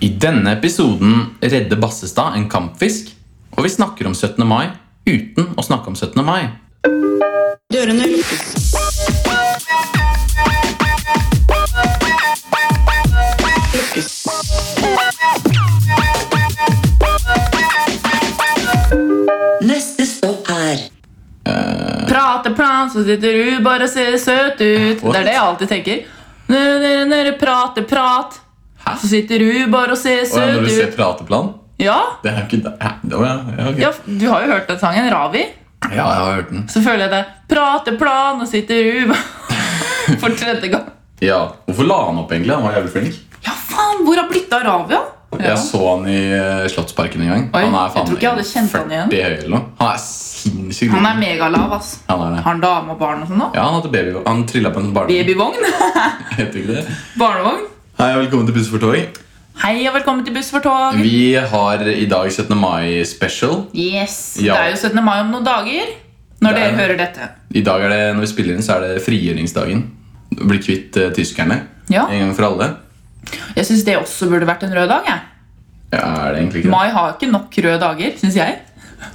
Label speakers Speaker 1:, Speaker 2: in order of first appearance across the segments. Speaker 1: I denne episoden redder Bassestad en kampfisk, og vi snakker om 17. mai uten å snakke om 17. mai.
Speaker 2: Dørene lukkes. Lukkes. Neste stopp er
Speaker 3: Prate plan, så sitter du bare og ser søt ut. Det er det jeg alltid tenker. Nere, nere, nere, prate, prat.
Speaker 1: Hæ?
Speaker 3: Så sitter du bare og ser
Speaker 1: Og når
Speaker 3: søt
Speaker 1: du ser
Speaker 3: ut.
Speaker 1: prateplan
Speaker 3: Ja,
Speaker 1: Det er jo ikke da- Hæ? Å, ja, ja, ok.
Speaker 3: ja, f- du har jo hørt den sangen, Ravi.
Speaker 1: ja, jeg har hørt den.
Speaker 3: Så føler jeg det. Prate plan, og sitter du bare- For tredje gang.
Speaker 1: Ja, Hvorfor la han opp, egentlig? Han var jævlig flink.
Speaker 3: Ja, faen! Hvor har blitt av Ravi, da? Ja.
Speaker 1: Jeg så han i eh, Slottsparken en gang.
Speaker 3: Oi,
Speaker 1: han er
Speaker 3: jeg tror ikke jeg hadde kjent han igjen.
Speaker 1: 40 høy eller noe. Han er sinnssykt
Speaker 3: Han er
Speaker 1: god.
Speaker 3: megalav, ass.
Speaker 1: Han er det.
Speaker 3: Har han dame og barn og sånn nå?
Speaker 1: Ja, han hadde baby Han trilla på en barnevogn.
Speaker 3: Babyvogn?
Speaker 1: Heter ikke det?
Speaker 3: Barnevogn?
Speaker 1: Hei, og velkommen til Buss for tog.
Speaker 3: Hei og velkommen til Buss for tog.
Speaker 1: Vi har i dag 17. mai special.
Speaker 3: Yes,
Speaker 1: Ja.
Speaker 3: Det er jo 17. mai om noen dager
Speaker 1: Det
Speaker 3: når
Speaker 1: er
Speaker 3: dere
Speaker 1: det.
Speaker 3: hører dette.
Speaker 1: I dag er det, når vi spiller inn, så er det frigjøringsdagen. Bli kvitt eh, tyskerne.
Speaker 3: Ja.
Speaker 1: En gang for alle.
Speaker 3: Jeg syns det også burde vært en rød dag. Jeg.
Speaker 1: Ja, er det egentlig ikke det?
Speaker 3: Mai har ikke nok røde dager, syns jeg.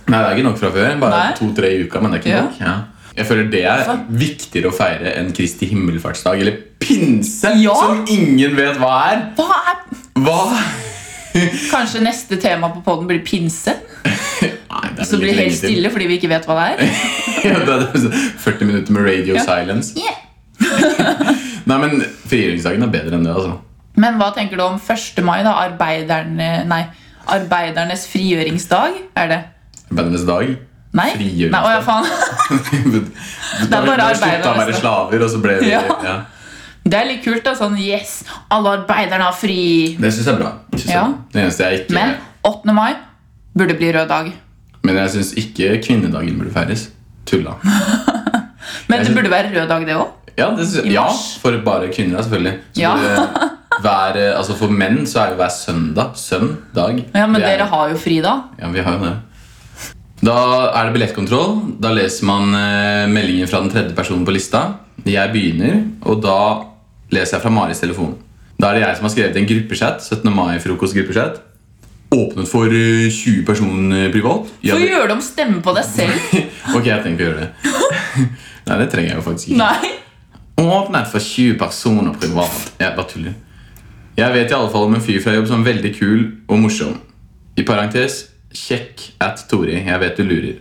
Speaker 1: Nei, det er ikke nok fra før. Bare
Speaker 3: Nei.
Speaker 1: to-tre i uka, men det er ikke
Speaker 3: Ja.
Speaker 1: nok. Ja. Jeg føler det er
Speaker 3: Hvorfor?
Speaker 1: viktigere å feire enn Kristi himmelfartsdag, eller pinse,
Speaker 3: Ja.
Speaker 1: som ingen vet hva er.
Speaker 3: Hva er
Speaker 1: Hva?
Speaker 3: Kanskje neste tema på poden blir pinse?
Speaker 1: Nei, det er
Speaker 3: Så
Speaker 1: vel litt
Speaker 3: blir det helt
Speaker 1: lenge til.
Speaker 3: stille fordi vi ikke vet hva det er?
Speaker 1: Ja, det er sånn 40 minutter med radio
Speaker 3: Ja.
Speaker 1: silence.
Speaker 3: Yeah.
Speaker 1: Nei, men frigjøringsdagen er bedre enn det, altså.
Speaker 3: Men hva tenker du om 1. mai, da? Arbeiderne, nei, arbeidernes frigjøringsdag? Er det?
Speaker 1: Arbeidernes dag.
Speaker 3: Nei?
Speaker 1: Frigjøringsdag.
Speaker 3: Nei, å, ja, faen.
Speaker 1: det slutta å
Speaker 3: bare arbeidernes
Speaker 1: være
Speaker 3: dag.
Speaker 1: slaver, og så ble det
Speaker 3: Ja.
Speaker 1: ja.
Speaker 3: Det er litt kult. da, Sånn yes, alle arbeiderne har fri.
Speaker 1: Det syns jeg er bra. Synes jeg.
Speaker 3: Ja.
Speaker 1: Det eneste jeg ikke
Speaker 3: Men 8. mai burde bli rød dag.
Speaker 1: Men jeg syns ikke kvinnedagen burde feires. Tulla.
Speaker 3: Men
Speaker 1: Jeg
Speaker 3: det
Speaker 1: synes-
Speaker 3: burde være rød dag, det òg.
Speaker 1: Ja, det synes,
Speaker 3: I
Speaker 1: ja
Speaker 3: mars.
Speaker 1: for bare kvinner, da, selvfølgelig. Så
Speaker 3: Ja.
Speaker 1: burde hver, altså for menn så er jo hver søndag søndag.
Speaker 3: Ja, men
Speaker 1: Det er-
Speaker 3: dere har jo fri da.
Speaker 1: Ja, vi har jo det. Da er det billettkontroll. Da leser man eh, meldingen fra den tredje personen på lista. Jeg begynner, og da leser jeg fra Maris telefon. Da er det jeg som har skrevet en gruppechat. 17. mai-frokostgruppechat. Åpnet for eh, 20 personer privat.
Speaker 3: Så
Speaker 1: Jeg-
Speaker 3: gjør de om stemme på deg selv.
Speaker 1: ok, jeg tenker å gjøre det. Nei, det trenger jeg jo faktisk ikke.
Speaker 3: Nei.
Speaker 1: Åpnet for 20 personer privat. Jeg bare tuller. Jeg vet i alle fall om en fyr fra jobb som er veldig kul og morsom. I parentes kjekk at Tori. Jeg vet du lurer.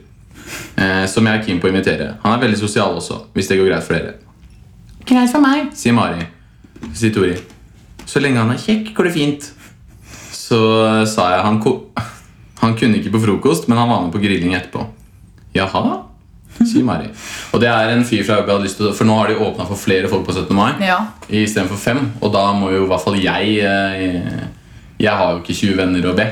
Speaker 1: Eh, som jeg er keen på å invitere. Han er veldig sosial også, hvis det går greit for dere.
Speaker 3: Greit for meg.
Speaker 1: Sier Mari. Sier Tori. Så lenge han er kjekk, går det fint. Så eh, sa jeg han ko... Han kunne ikke på frokost, men han var med på grilling etterpå. Jaha? Sier Mari. Og det er en fyr fra jobb jeg hadde lyst til å For nå har de åpna for flere folk på 17. mai
Speaker 3: Ja.
Speaker 1: istedenfor fem. Og da må jo i hvert fall jeg eh, Jeg har jo ikke 20 venner å be.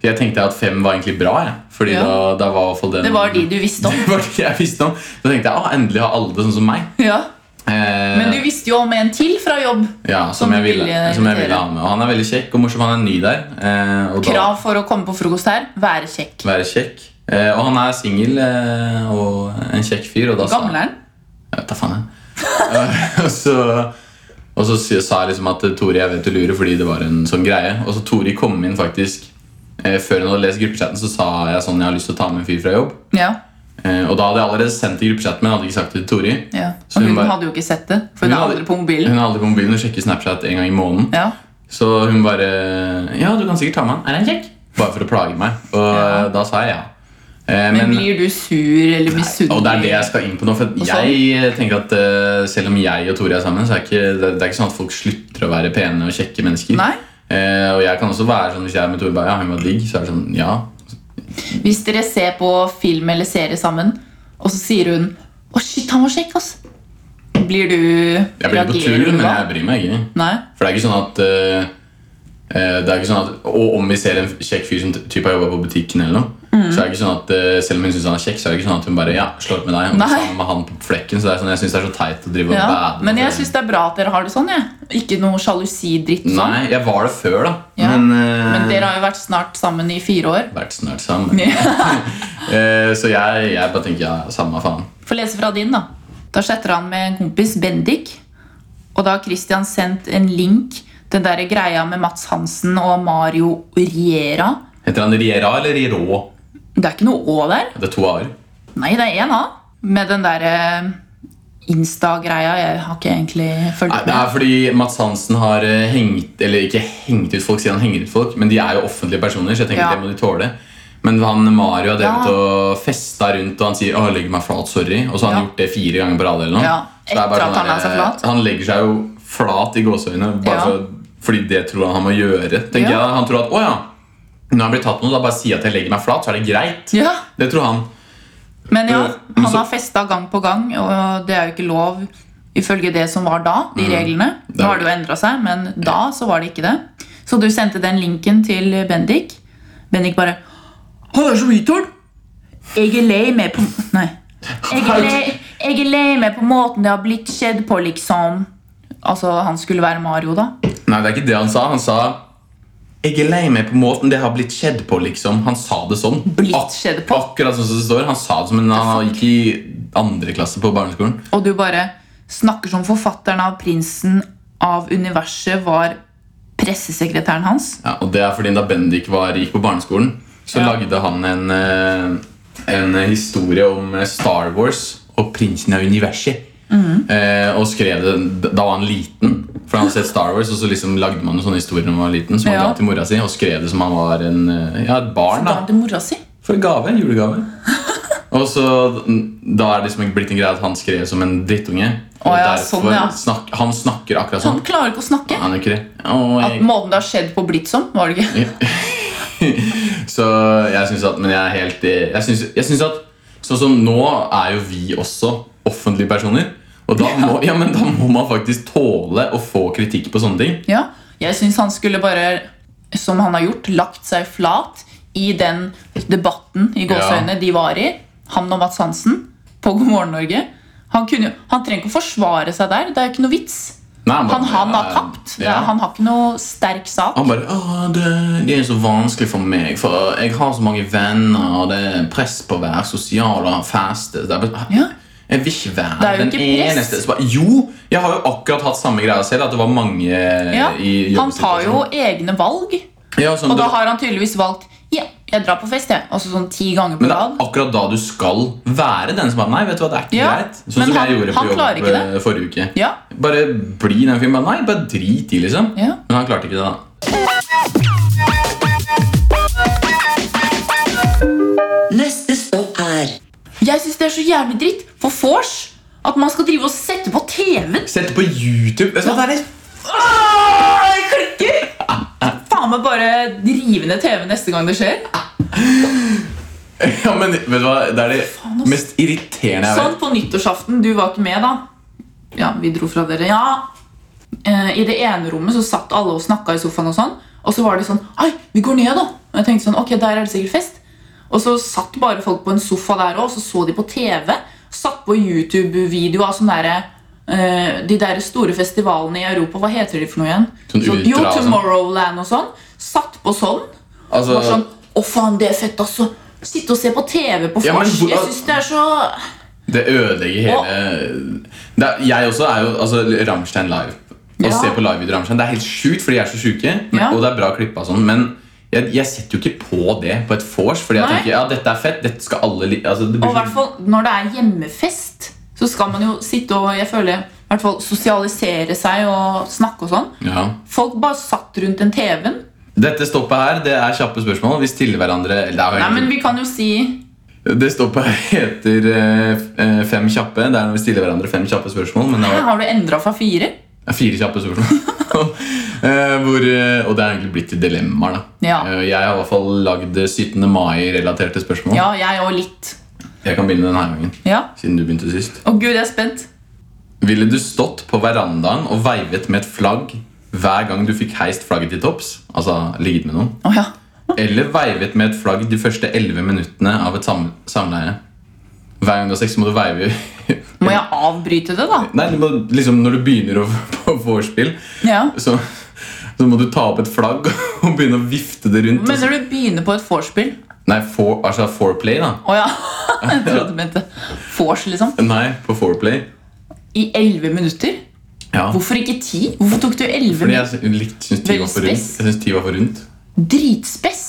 Speaker 1: Jeg tenkte at fem var egentlig bra, jeg. Fordi
Speaker 3: Ja.
Speaker 1: da, da var i hvert fall den
Speaker 3: Det var de du visste om.
Speaker 1: Det var de jeg visste om. Da tenkte jeg ah, endelig har alle det sånn som meg.
Speaker 3: Ja.
Speaker 1: Eh,
Speaker 3: Men du visste jo om en til fra jobb.
Speaker 1: ja, som,
Speaker 3: Som
Speaker 1: jeg
Speaker 3: du
Speaker 1: ville,
Speaker 3: ville
Speaker 1: som jeg
Speaker 3: invitere.
Speaker 1: ville ha med. Og han er veldig kjekk og morsom. Han er ny der. Eh, og da
Speaker 3: Krav for å komme på frokost her. Være kjekk.
Speaker 1: være kjekk. Eh, og han er singel eh, og en kjekk fyr. Og da sa
Speaker 3: Gamleren.
Speaker 1: Jeg vet da faen, jeg. Eh, og så, og så si- sa jeg liksom at Tori jeg vet du lurer fordi det var en sånn greie. Og så Tori kom inn faktisk eh, før hun hadde lest gruppechatten, så sa jeg sånn jeg har lyst til å ta med en fyr fra jobb.
Speaker 3: Ja.
Speaker 1: Eh, og da hadde jeg allerede sendt i gruppechatten, men hadde ikke sagt det til Tori.
Speaker 3: ja.
Speaker 1: Så
Speaker 3: Og
Speaker 1: hun
Speaker 3: hun
Speaker 1: bare-
Speaker 3: hadde jo ikke sett det, for hun
Speaker 1: Hun
Speaker 3: er
Speaker 1: hadde-
Speaker 3: aldri på
Speaker 1: Hun
Speaker 3: mobilen.
Speaker 1: er aldri på mobilen og sjekker Snapchat en gang i måneden.
Speaker 3: Ja.
Speaker 1: Så hun bare Ja, du kan sikkert ta med han. Er han kjekk? Bare for å plage meg. Og
Speaker 3: Ja.
Speaker 1: da sa jeg ja. Eh,
Speaker 3: Men blir du sur eller
Speaker 1: og det er det
Speaker 3: misunnelig?
Speaker 1: jeg skal inn på nå. For
Speaker 3: Og
Speaker 1: at
Speaker 3: sånn.
Speaker 1: jeg tenker at eh, Selv om jeg og Tore er sammen, så er ikke, det, det er ikke sånn at folk slutter å være pene og kjekke mennesker.
Speaker 3: Nei.
Speaker 1: Eh, og jeg kan også være sånn hvis jeg er med Tore bare, ja, hun var digg, så er det sånn ja.
Speaker 3: Hvis dere ser på film eller serie sammen, og så sier hun 'Å, shit, han var kjekk', ass. Blir du
Speaker 1: Jeg blir på
Speaker 3: reagerer
Speaker 1: tur,
Speaker 3: du
Speaker 1: men
Speaker 3: da?
Speaker 1: jeg bryr meg ikke.
Speaker 3: Nei.
Speaker 1: For det er ikke sånn at eh, eh, Det er ikke sånn at Og om vi ser en kjekk fyr som t- typ har jobba på butikken, eller noe
Speaker 3: Mm.
Speaker 1: Så er det ikke sånn at eh, selv om hun syns han er kjekk, så er det ikke sånn at hun bare ja, slår opp med deg. Og
Speaker 3: Nei.
Speaker 1: sammen med han på flekken Så det er sånn, Jeg syns det er så teit å drive og
Speaker 3: Ja,
Speaker 1: bade.
Speaker 3: men jeg
Speaker 1: for-
Speaker 3: syns det er bra at dere har det sånn. Jeg. Ikke noe sjalusidritt. og Sånn.
Speaker 1: Nei, jeg var det før, da.
Speaker 3: Ja.
Speaker 1: Men, eh,
Speaker 3: Men dere har jo vært snart sammen i fire år.
Speaker 1: vært snart sammen. Eh, så jeg, jeg bare tenker ja, samme faen.
Speaker 3: Få lese fra din, da. Da chatter han med en kompis, Bendik. Og da har Christian sendt en link Den der greia med Mats Hansen og Mario Riera.
Speaker 1: Heter han Riera eller Rirå?
Speaker 3: Det er ikke noe Å der.
Speaker 1: Det er to a-er.
Speaker 3: Nei, det er én A. Med den derre Insta-greia. Jeg har ikke egentlig
Speaker 1: Nei,
Speaker 3: fulgt
Speaker 1: det
Speaker 3: med.
Speaker 1: er fordi Mats Hansen har eh, hengt Eller ikke hengt ut folk, siden han henger ut folk, men de er jo offentlige personer, så jeg tenker
Speaker 3: Ja.
Speaker 1: det må de tåle. Men han Mario har drevet
Speaker 3: Ja.
Speaker 1: og festa rundt, og han sier 'Å, legg meg flat, sorry'. Og så har han
Speaker 3: Ja.
Speaker 1: gjort det fire ganger på rad. eller noe.
Speaker 3: Ja,
Speaker 1: Så det er bare
Speaker 3: etter at han la seg
Speaker 1: eh,
Speaker 3: flat.
Speaker 1: han legger seg jo flat i gåseøynene bare
Speaker 3: Ja.
Speaker 1: for- fordi det tror han han må gjøre. tenker
Speaker 3: Ja.
Speaker 1: jeg. Han tror at 'Å ja, når jeg blir tatt med noe, da bare si at jeg legger meg flat, så er det greit'.
Speaker 3: Ja,
Speaker 1: Det tror han.
Speaker 3: men ja,
Speaker 1: Eh, Men
Speaker 3: han
Speaker 1: så-
Speaker 3: har festa gang på gang, og det er jo ikke lov ifølge det som var da. de reglene.
Speaker 1: Mm. er-
Speaker 3: Nå har det jo endra seg, men da så var det ikke det. Så du sendte den linken til Bendik. Bendik bare Han er så retard! Jeg er lei meg på Nei. Jeg er, lei, jeg er lei meg på måten det har blitt skjedd på, liksom. Altså, han skulle være Mario, da.
Speaker 1: Nei, det er ikke det han sa. Han sa jeg er lei meg på måten det har blitt skjedd på, liksom. Han sa det sånn.
Speaker 3: Blitt
Speaker 1: Ak-
Speaker 3: skjedd på?
Speaker 1: Akkurat sånn som det står. Han sa det som en han gikk i andre klasse på barneskolen.
Speaker 3: Og du bare snakker som forfatteren av 'Prinsen av universet' var pressesekretæren hans.
Speaker 1: Ja, og det er fordi da Bendik var, gikk på barneskolen, så
Speaker 3: Ja.
Speaker 1: lagde han en, eh, en historie om eh, Star Wars og prinsen av universet.
Speaker 3: Mhm.
Speaker 1: Eh, og skrev det da var han liten, for han hadde sett Star Wars. Og så liksom lagde man noen sånne historier når man var liten, som han
Speaker 3: Ja.
Speaker 1: ga til mora si. Og skrev det som han var en, eh, ja, et barn. da
Speaker 3: Da til mora si.
Speaker 1: For en gave, en julegave. Og så Da er det liksom blitt en greie at han skrev som en drittunge. Og
Speaker 3: Å ja,
Speaker 1: derfor
Speaker 3: sånn, ja.
Speaker 1: snak, han snakker akkurat sånn.
Speaker 3: Han klarer ikke å snakke.
Speaker 1: Han er ikke det. Å,
Speaker 3: At
Speaker 1: jeg,
Speaker 3: måten det har skjedd på, blitt som, var det ikke?
Speaker 1: så jeg syns at Men jeg er helt i- Jeg synes- jeg syns at Sånn som nå er jo vi også offentlige personer. Og da må, ja, men da må man faktisk tåle å få kritikk på sånne ting.
Speaker 3: Ja, Jeg syns han skulle bare, som han har gjort, lagt seg flat i den debatten i gåseøynene de var i, han og Mats Hansen, på God morgen Norge. Han, kunne, jo- han trenger ikke å forsvare seg der. Det er jo ikke noe vits.
Speaker 1: Nei, bare-
Speaker 3: Han, han har tapt. Det er-
Speaker 1: Ja.
Speaker 3: Han har ikke noe sterk sak.
Speaker 1: Han bare Åh, det, det er så vanskelig for meg, for jeg har så mange venner, og det er press på å være sosial og ha feste. Det er bare,
Speaker 3: Ja.
Speaker 1: Jeg vil ikke være
Speaker 3: Det er
Speaker 1: den
Speaker 3: jo ikke press.
Speaker 1: eneste. Så bare, jo, jeg har jo akkurat hatt samme greia selv, at det var mange
Speaker 3: Ja,
Speaker 1: i
Speaker 3: han tar jo egne valg,
Speaker 1: ja, sånn,
Speaker 3: og da
Speaker 1: det-
Speaker 3: har han tydeligvis valgt Ja, jeg drar på fest, jeg. Altså sånn ti ganger på
Speaker 1: men det er
Speaker 3: rad.
Speaker 1: akkurat da du skal være den som bare Nei, vet du hva, det er ikke
Speaker 3: Ja,
Speaker 1: greit. Sånn
Speaker 3: men
Speaker 1: som
Speaker 3: han-
Speaker 1: jeg gjorde
Speaker 3: han
Speaker 1: på
Speaker 3: klarer
Speaker 1: jobb
Speaker 3: ikke det.
Speaker 1: eh, forrige uke.
Speaker 3: Ja.
Speaker 1: Bare bli den fyren. Bare, Nei, bare drit i, liksom.
Speaker 3: Ja.
Speaker 1: Men han klarte ikke det, da.
Speaker 2: Neste stopp er
Speaker 3: Jeg syns det er så jævlig dritt for vors at man skal drive og sette på TV-en.
Speaker 1: Sett det på YouTube. Vet du hva, det er
Speaker 3: Åh, jeg klikker! Faen meg bare rive ned TV neste gang det skjer.
Speaker 1: Ja, men vet du hva, Det er
Speaker 3: Faen,
Speaker 1: det
Speaker 3: ass.
Speaker 1: mest irriterende jeg vet.
Speaker 3: Sånn på nyttårsaften. Du var ikke med, da. Ja, vi dro fra dere. Ja. Eh, I det ene rommet så satt alle og snakka i sofaen, og sånn Og så var de sånn Ai, vi går ned, da. Og jeg tenkte sånn, ok, der er det sikkert fest Og så satt bare folk på en sofa der òg, og så så de på TV. Satt på YouTube-video av sånne derre eh, de der store festivalene i Europa, hva heter de for noe igjen?
Speaker 1: Sånn
Speaker 3: Så- jo,
Speaker 1: ultra og sånn.
Speaker 3: Tomorrowland og sånn. Satt på sånn.
Speaker 1: Altså-
Speaker 3: Bare sånn Å, faen, det er fett, altså. Sitte og se på TV på
Speaker 1: Ja, men
Speaker 3: vors.
Speaker 1: hvor-
Speaker 3: Jeg syns det er så
Speaker 1: Det ødelegger hele det er, Jeg også er jo altså, Rammstein live. Å
Speaker 3: Ja.
Speaker 1: se på livevideo av Rammstein Det er helt sjukt, fordi de er så sjuke. men-
Speaker 3: Ja.
Speaker 1: Og det er bra klippa sånn. Men jeg, jeg setter jo ikke på det på et vors. Fordi jeg
Speaker 3: Nei.
Speaker 1: tenker ja, dette er fett. Dette skal alle li altså, det blir
Speaker 3: Og i hvert
Speaker 1: sånn-
Speaker 3: fall når det er hjemmefest, så skal man jo sitte og jeg føler, i hvert fall sosialisere seg og snakke og sånn.
Speaker 1: ja.
Speaker 3: Folk bare satt rundt den TV-en.
Speaker 1: Dette stoppet her det er kjappe spørsmål. Vi stiller hverandre eller det, er jo
Speaker 3: Nei,
Speaker 1: egentlig-
Speaker 3: men vi kan jo si
Speaker 1: det stoppet her heter eh, f- eh, Fem kjappe. Det er når vi stiller hverandre fem kjappe spørsmål. Men det
Speaker 3: Hæ,
Speaker 1: var
Speaker 3: Har du endra fra fire?
Speaker 1: Ja, Fire kjappe spørsmål. Eh, Hvor, eh, og det er egentlig blitt til dilemmaer. da.
Speaker 3: Ja.
Speaker 1: Eh, Jeg har i hvert fall lagd 17. mai-relaterte spørsmål.
Speaker 3: Ja, jeg òg litt.
Speaker 1: Jeg kan begynne denne gangen,
Speaker 3: Ja.
Speaker 1: siden du begynte sist.
Speaker 3: Å gud, jeg er spent.
Speaker 1: Ville du stått på verandaen og veivet med et flagg hver gang du fikk heist flagget til topps? Altså ligget med noen.
Speaker 3: Å ja.
Speaker 1: Eller veivet med et flagg de første 11 minuttene av et sam samleie? Hver gang du har sex, må du veive
Speaker 3: Må jeg avbryte det, da?
Speaker 1: Nei, du må, liksom når du begynner å, på vorspiel,
Speaker 3: Ja.
Speaker 1: så, så må du ta opp et flagg og begynne å vifte det rundt. og så-
Speaker 3: Mener du begynner på et vorspiel?
Speaker 1: Nei, for, altså foreplay, da.
Speaker 3: Å ja. Jeg trodde du mente vors, liksom.
Speaker 1: Nei, på foreplay.
Speaker 3: I elleve minutter?
Speaker 1: Ja.
Speaker 3: Hvorfor ikke ti? Hvorfor tok du elleve?
Speaker 1: Fordi jeg syns ti var for rundt. Jeg synes ti var for rundt.
Speaker 3: Dritspess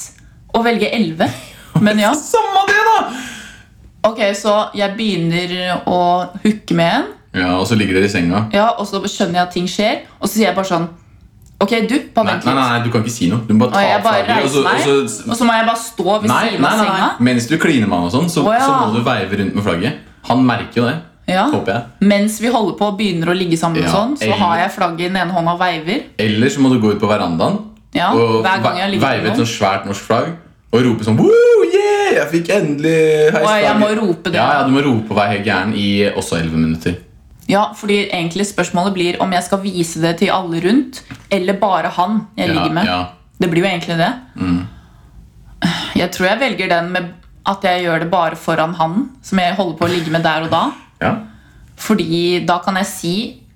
Speaker 3: å velge elleve. Men ja.
Speaker 1: Samme det, da!
Speaker 3: Ok, så jeg begynner å hooke med en.
Speaker 1: Ja, Og så ligger dere i senga.
Speaker 3: Ja, og så skjønner jeg at ting skjer, og så sier jeg bare sånn Ok, du, bare
Speaker 1: Nei,
Speaker 3: vent
Speaker 1: nei,
Speaker 3: litt.
Speaker 1: nei, du kan ikke si noe. Du må
Speaker 3: Og
Speaker 1: bare
Speaker 3: jeg
Speaker 1: ta
Speaker 3: bare
Speaker 1: flagget. Og så,
Speaker 3: reiser meg,
Speaker 1: og så
Speaker 3: og så må jeg bare stå ved
Speaker 1: Nei,
Speaker 3: siden
Speaker 1: nei,
Speaker 3: av
Speaker 1: nei, nei.
Speaker 3: senga.
Speaker 1: Mens du kliner med han, og sånn, så,
Speaker 3: Å, ja.
Speaker 1: så må du veive rundt med flagget. Han merker jo det.
Speaker 3: Ja.
Speaker 1: Håper jeg.
Speaker 3: Mens vi holder på og begynner å ligge sammen,
Speaker 1: Ja,
Speaker 3: sånn, så
Speaker 1: eller-
Speaker 3: har jeg flagget i den ene hånda og veiver.
Speaker 1: Eller så må du gå ut på verandaen
Speaker 3: Ja,
Speaker 1: og
Speaker 3: hver gang jeg
Speaker 1: ve-
Speaker 3: ligger med
Speaker 1: veive et
Speaker 3: noen.
Speaker 1: sånn svært norsk flagg og rope sånn Woo, yeah, Jeg fikk endelig heist
Speaker 3: Og jeg må
Speaker 1: flagget».
Speaker 3: rope det.
Speaker 1: Ja, ja, du må rope og være helt gæren i også 11 minutter.
Speaker 3: Ja, fordi egentlig spørsmålet blir om jeg skal vise det til alle rundt, eller bare han jeg
Speaker 1: Ja,
Speaker 3: ligger med.
Speaker 1: ja.
Speaker 3: Det blir jo egentlig det. Jeg tror jeg velger den med at jeg gjør det bare foran han, som jeg holder på å ligge med der og da.
Speaker 1: Ja.
Speaker 3: Fordi da kan jeg si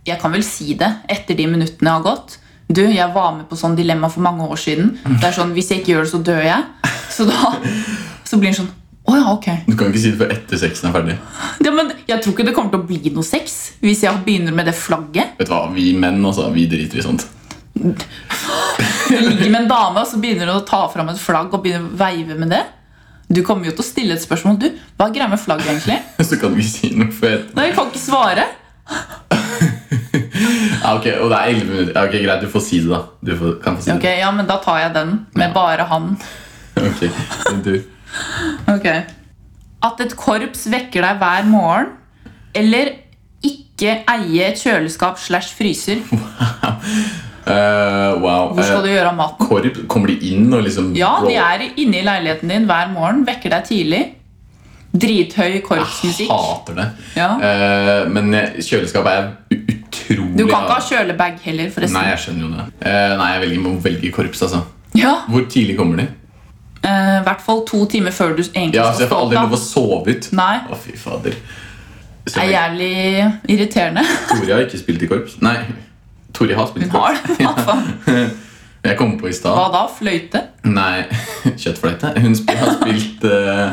Speaker 3: Jeg kan vel si det etter de minuttene jeg har gått. Du, jeg var med på sånn dilemma for mange år siden. Det er sånn, Hvis jeg ikke gjør det, så dør jeg. Så da så blir han sånn Å ja, ok.
Speaker 1: Du kan ikke si det før etter sexen er ferdig.
Speaker 3: Ja, men jeg tror ikke det kommer til å bli noe sex hvis jeg begynner med det flagget.
Speaker 1: Vet du hva, Vi menn altså, vi driter i sånt.
Speaker 3: Jeg ligger med en dame, og så begynner hun å ta fram et flagg og begynner å veive med det. Du kommer jo til å stille et spørsmål. Du, hva er greia med flagget, egentlig?
Speaker 1: Så kan vi si noe før etter.
Speaker 3: Nei, jeg kan ikke svare.
Speaker 1: Ja, ok, Og det er 11 minutter. Ja, ok, Greit, du får si det, da. Du får, kan få si
Speaker 3: Ok, Ja, men da tar jeg den med bare han.
Speaker 1: det. Ok, men du.
Speaker 3: Ok. At et korps vekker deg hver morgen, eller ikke eie et kjøleskap slash fryser.
Speaker 1: Eh, wow.
Speaker 3: Hvor skal du gjøre av maten?
Speaker 1: Korp, kommer de inn og liksom
Speaker 3: Ja, de er inne i leiligheten din hver morgen, vekker deg tidlig. Drithøy
Speaker 1: Jeg
Speaker 3: korpsmusikk.
Speaker 1: hater det.
Speaker 3: Ja.
Speaker 1: Eh, men kjøleskapet er u- utrolig
Speaker 3: Du kan ikke ha kjølebag heller,
Speaker 1: Nei,
Speaker 3: forresten.
Speaker 1: jeg skjønner jo det. Eh, nei, jeg velger, må velge korps, altså.
Speaker 3: Ja,
Speaker 1: Hvor tidlig kommer de?
Speaker 3: I Eh, hvert fall to timer før du egentlig
Speaker 1: Ja, så
Speaker 3: skal
Speaker 1: Jeg får
Speaker 3: stå
Speaker 1: aldri
Speaker 3: opp.
Speaker 1: lov å
Speaker 3: da.
Speaker 1: sove ut.
Speaker 3: Nei.
Speaker 1: Å, fy fader. Så
Speaker 3: Det er
Speaker 1: jeg,
Speaker 3: jævlig irriterende.
Speaker 1: Tori har ikke spilt i korps. Nei, Tori har spilt i
Speaker 3: Hun har
Speaker 1: korps.
Speaker 3: det. Hva faen?
Speaker 1: Jeg kom på i
Speaker 3: Hva
Speaker 1: stad
Speaker 3: da? Fløyte?
Speaker 1: Nei, kjøttfløyte. Hun sp har spilt eh,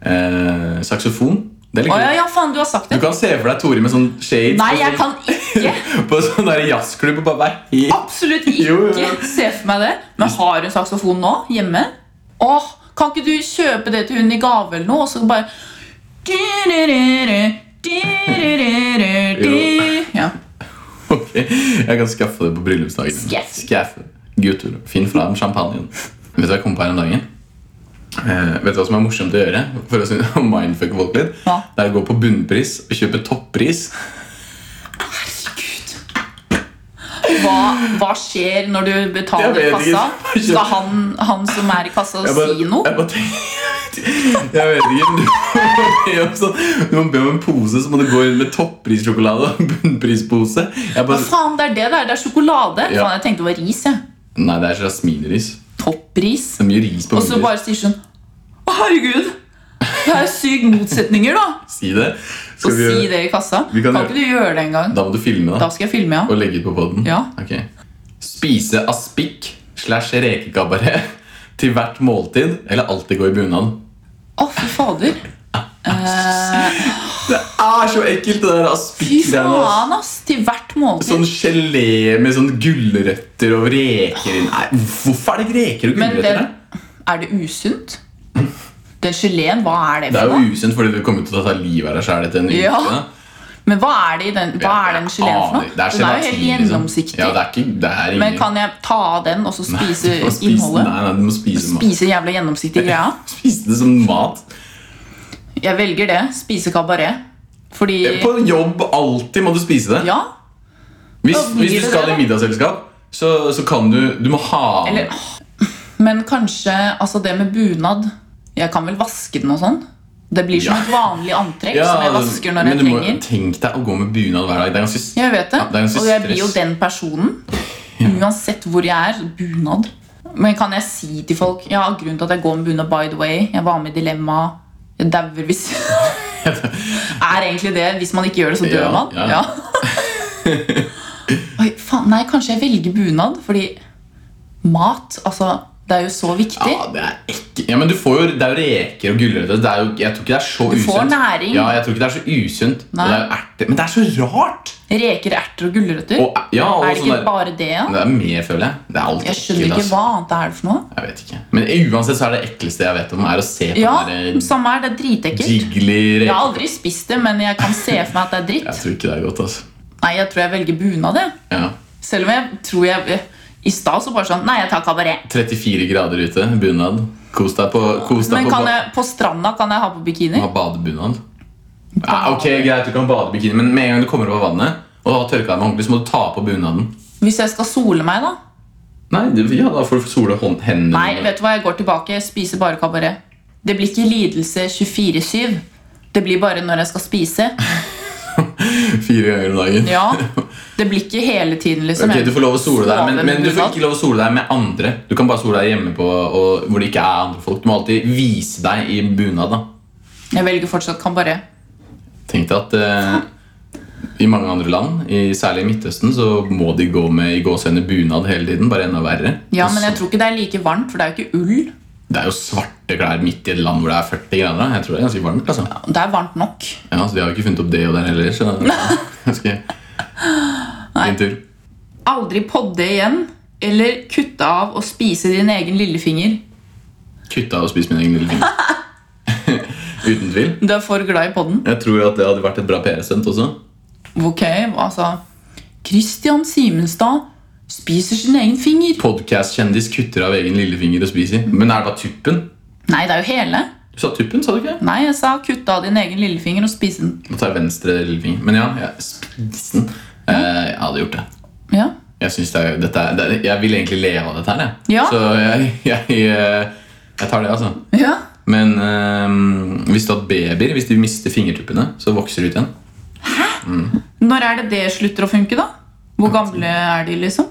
Speaker 1: eh, saksofon. Det er litt
Speaker 3: Å ja,
Speaker 1: kult.
Speaker 3: ja, faen, du har sagt
Speaker 1: Du
Speaker 3: det.
Speaker 1: kan se for deg Tori med sånn shades
Speaker 3: Nei,
Speaker 1: og
Speaker 3: jeg
Speaker 1: sånn-
Speaker 3: kan ikke.
Speaker 1: på sånn der jazzklubb og bare være helt
Speaker 3: Absolutt
Speaker 1: Jo, jo,
Speaker 3: ikke
Speaker 1: jo.
Speaker 3: se for meg det. Men har hun saksofon nå? Hjemme? Åh, kan ikke du kjøpe det til hun i gave eller noe? Og så bare ja.
Speaker 1: Ok, jeg kan skaffe det på bryllupsdagen.
Speaker 3: Skaff.
Speaker 1: Skaffe. Gutter, finn fram champagnen. Vet du hva jeg kom på her om dagen? Eh, vet du hva som er morsomt å gjøre? For å sy- mindfucke folk litt
Speaker 3: Hva?
Speaker 1: Det er å gå på bunnpris og kjøpe toppris.
Speaker 3: hva, hva skjer når du
Speaker 1: Jeg
Speaker 3: betaler i
Speaker 1: vet
Speaker 3: kassa?
Speaker 1: ikke.
Speaker 3: Skal han, han som er i kassa,
Speaker 1: Jeg bare-
Speaker 3: si noe?
Speaker 1: Jeg, bare tenker- jeg vet ikke. men Du må, be om sånn, du må be om en pose, så må du gå inn med topprissjokolade og bunnprispose. Jeg
Speaker 3: Hva
Speaker 1: bare,
Speaker 3: faen, det er det det er. Det er sjokolade.
Speaker 1: Ja.
Speaker 3: Faen, jeg tenkte det var ris. jeg.
Speaker 1: nei, det er jasminris.
Speaker 3: Toppris.
Speaker 1: Det er mye ris på
Speaker 3: Og så
Speaker 1: bunnpris.
Speaker 3: bare sier sånn «Å, Herregud, det er syke motsetninger, da.
Speaker 1: Si det.
Speaker 3: Og
Speaker 1: Skal vi
Speaker 3: si
Speaker 1: gjøre-
Speaker 3: det i kassa.
Speaker 1: Vi kan
Speaker 3: Kan
Speaker 1: gjøre-
Speaker 3: ikke du gjøre det engang?
Speaker 1: Da må du filme, da.
Speaker 3: Da skal jeg filme, ja.
Speaker 1: Og legge ut på poden?
Speaker 3: Ja.
Speaker 1: Ok. Spise aspik slash rekekabaret til hvert måltid, eller alltid gå i bunad?
Speaker 3: Å, fy fader.
Speaker 1: Det er så ekkelt, det der
Speaker 3: Fy
Speaker 1: aspik-greiene. ass.
Speaker 3: faen, ass. Til hvert måltid.
Speaker 1: Sånn gelé med sånn gulrøtter og reker i Nei, hvorfor er det ikke reker og
Speaker 3: Men
Speaker 1: gulrøtter
Speaker 3: den,
Speaker 1: der?
Speaker 3: er det usunt? Den geleen, hva er det
Speaker 1: Det
Speaker 3: for
Speaker 1: er
Speaker 3: noe?
Speaker 1: jo usunt, fordi du kommer til å ta livet av deg sjæl etter en uke.
Speaker 3: Ja.
Speaker 1: da.
Speaker 3: Men hva er det i den, hva er den
Speaker 1: Jeg
Speaker 3: geleen for
Speaker 1: aner
Speaker 3: noe?
Speaker 1: ikke. Det er
Speaker 3: Den er jo
Speaker 1: gelatin,
Speaker 3: helt
Speaker 1: liksom.
Speaker 3: gjennomsiktig.
Speaker 1: Ja, det er ikke, det er
Speaker 3: Men
Speaker 1: ingen-
Speaker 3: kan jeg ta av den og så spise
Speaker 1: Du må spise-
Speaker 3: innholdet?
Speaker 1: Nei, nei, du må spise, mat.
Speaker 3: Spise jævla gjennomsiktig greia?
Speaker 1: spise det som mat.
Speaker 3: Jeg velger det. Spise kabaret. Fordi
Speaker 1: På jobb alltid må du spise det.
Speaker 3: Ja.
Speaker 1: Hvis,
Speaker 3: Da blir
Speaker 1: hvis du
Speaker 3: det
Speaker 1: skal i
Speaker 3: det, da.
Speaker 1: middagsselskap, så, så kan du Du må ha
Speaker 3: Eller Men kanskje altså det med bunad Jeg kan vel vaske den og sånn? Det blir som
Speaker 1: Ja.
Speaker 3: et vanlig antrekk
Speaker 1: Ja,
Speaker 3: som jeg vasker når
Speaker 1: men
Speaker 3: jeg
Speaker 1: du må-
Speaker 3: trenger.
Speaker 1: Tenk deg å gå med bunad hver dag. Det er ganske s-
Speaker 3: Jeg vet det.
Speaker 1: Ja, det er ganske
Speaker 3: og jeg blir jo
Speaker 1: stress.
Speaker 3: den personen. Uansett hvor jeg er. Bunad. Men kan jeg si til folk Ja, grunnen til at jeg går med bunad, by the way Jeg var med i Dilemma. Jeg dauer hvis Er egentlig det. Hvis man ikke gjør det, så dør
Speaker 1: Ja,
Speaker 3: man.
Speaker 1: ja.
Speaker 3: Ja. Oi, faen, nei, kanskje jeg velger bunad, fordi mat Altså, Det er jo så viktig.
Speaker 1: Ja, det er ikke Ja, men du får jo, det er jo reker og gulrøtter. Det er jo, jeg tror ikke det er så
Speaker 3: Du
Speaker 1: usunt.
Speaker 3: får næring.
Speaker 1: Ja, jeg tror ikke det er så usunt. Og
Speaker 3: Nei.
Speaker 1: det er jo erter. Men det er så rart!
Speaker 3: Reker, erter og gulrøtter.
Speaker 1: Og, ja, og
Speaker 3: er det
Speaker 1: sånn
Speaker 3: ikke
Speaker 1: der-
Speaker 3: bare det? Ja?
Speaker 1: Det er mer, føler jeg. Det er alt
Speaker 3: Jeg skjønner
Speaker 1: ekkelt,
Speaker 3: ikke
Speaker 1: altså.
Speaker 3: hva annet det er for noe.
Speaker 1: Jeg vet ikke. Men uansett så er det ekleste jeg vet om, er å se på
Speaker 3: Ja,
Speaker 1: den der
Speaker 3: samme her. Det er dritekkelt.
Speaker 1: jiggly
Speaker 3: Jeg
Speaker 1: reker.
Speaker 3: har aldri spist det, men jeg kan se for meg at det er
Speaker 1: Jeg
Speaker 3: dritt.
Speaker 1: tror ikke det er godt, altså.
Speaker 3: Nei, jeg tror jeg velger bunad, jeg.
Speaker 1: Ja.
Speaker 3: Selv om jeg tror jeg I stad så bare sånn Nei, jeg tar kabaret.
Speaker 1: 34 grader ute, bunad. Kos deg på, kos deg
Speaker 3: Men
Speaker 1: på
Speaker 3: kan
Speaker 1: ba-
Speaker 3: jeg, på stranda kan jeg ha på bikini?
Speaker 1: ha badebunad. Ja, ok, Greit, du kan bade i bikini, men med en gang du kommer opp av vannet og har tørka deg med håndkle, så må du ta på bunaden.
Speaker 3: Hvis jeg skal sole meg, da?
Speaker 1: Nei, det, ja, da får du sole hånd, hendene
Speaker 3: Nei, vet du hva, jeg går tilbake. Jeg spiser bare kabaret. Det blir ikke lidelse 24-7. Det blir bare når jeg skal spise.
Speaker 1: fire ganger om dagen.
Speaker 3: Ja. Det blir ikke hele tiden, liksom.
Speaker 1: Ok, Du får lov å sole deg,
Speaker 3: Sove
Speaker 1: men,
Speaker 3: med
Speaker 1: men du får
Speaker 3: bunad.
Speaker 1: ikke lov å sole deg med andre. Du kan bare sole deg hjemme på, og, hvor det ikke er andre folk. Du må alltid vise deg i bunad. da
Speaker 3: Jeg velger fortsatt kabaret.
Speaker 1: Tenk deg at eh, i mange andre land, i, særlig i Midtøsten, så må de gå med i gåsehøyne bunad hele tiden. Bare enda verre.
Speaker 3: Ja,
Speaker 1: Og
Speaker 3: men jeg
Speaker 1: så-
Speaker 3: tror ikke det er like varmt, for det er jo ikke ull.
Speaker 1: Det er jo svarte klær midt i et land hvor det er 40 grader. da. Jeg tror det er ganske varmt. altså
Speaker 3: Det er varmt nok.
Speaker 1: Ja, så De har jo ikke funnet opp det og der heller, så det er ganske Din tur.
Speaker 3: Aldri podde igjen, eller kutte av og spise din egen lillefinger.
Speaker 1: Kutta og spist min egen lille finger. Uten tvil.
Speaker 3: Du er for glad i podden.
Speaker 1: Jeg tror at det hadde vært et bra PR-stunt også.
Speaker 3: Ok, altså Christian Simenstad spiser sin egen finger.
Speaker 1: Podcast-kjendis kutter av egen lillefinger og spiser. Men er det da tuppen?
Speaker 3: Nei, det er jo hele.
Speaker 1: Du sa tuppen, sa du ikke?
Speaker 3: Nei, jeg sa kutte av din egen lillefinger og spise den.
Speaker 1: Nå tar jeg venstre lillefinger. Men ja, jeg, spisen. Eh, jeg hadde gjort det.
Speaker 3: Ja.
Speaker 1: Jeg, synes det, er, dette er, det, er- jeg vil egentlig leve av dette her, jeg.
Speaker 3: Ja.
Speaker 1: Så jeg, jeg, eh, jeg tar det, altså.
Speaker 3: ja.
Speaker 1: Men eh, visste du at babyer, hvis de mister fingertuppene, så vokser de ut igjen?
Speaker 3: Når er det det slutter å funke, da? Hvor gamle er de, liksom?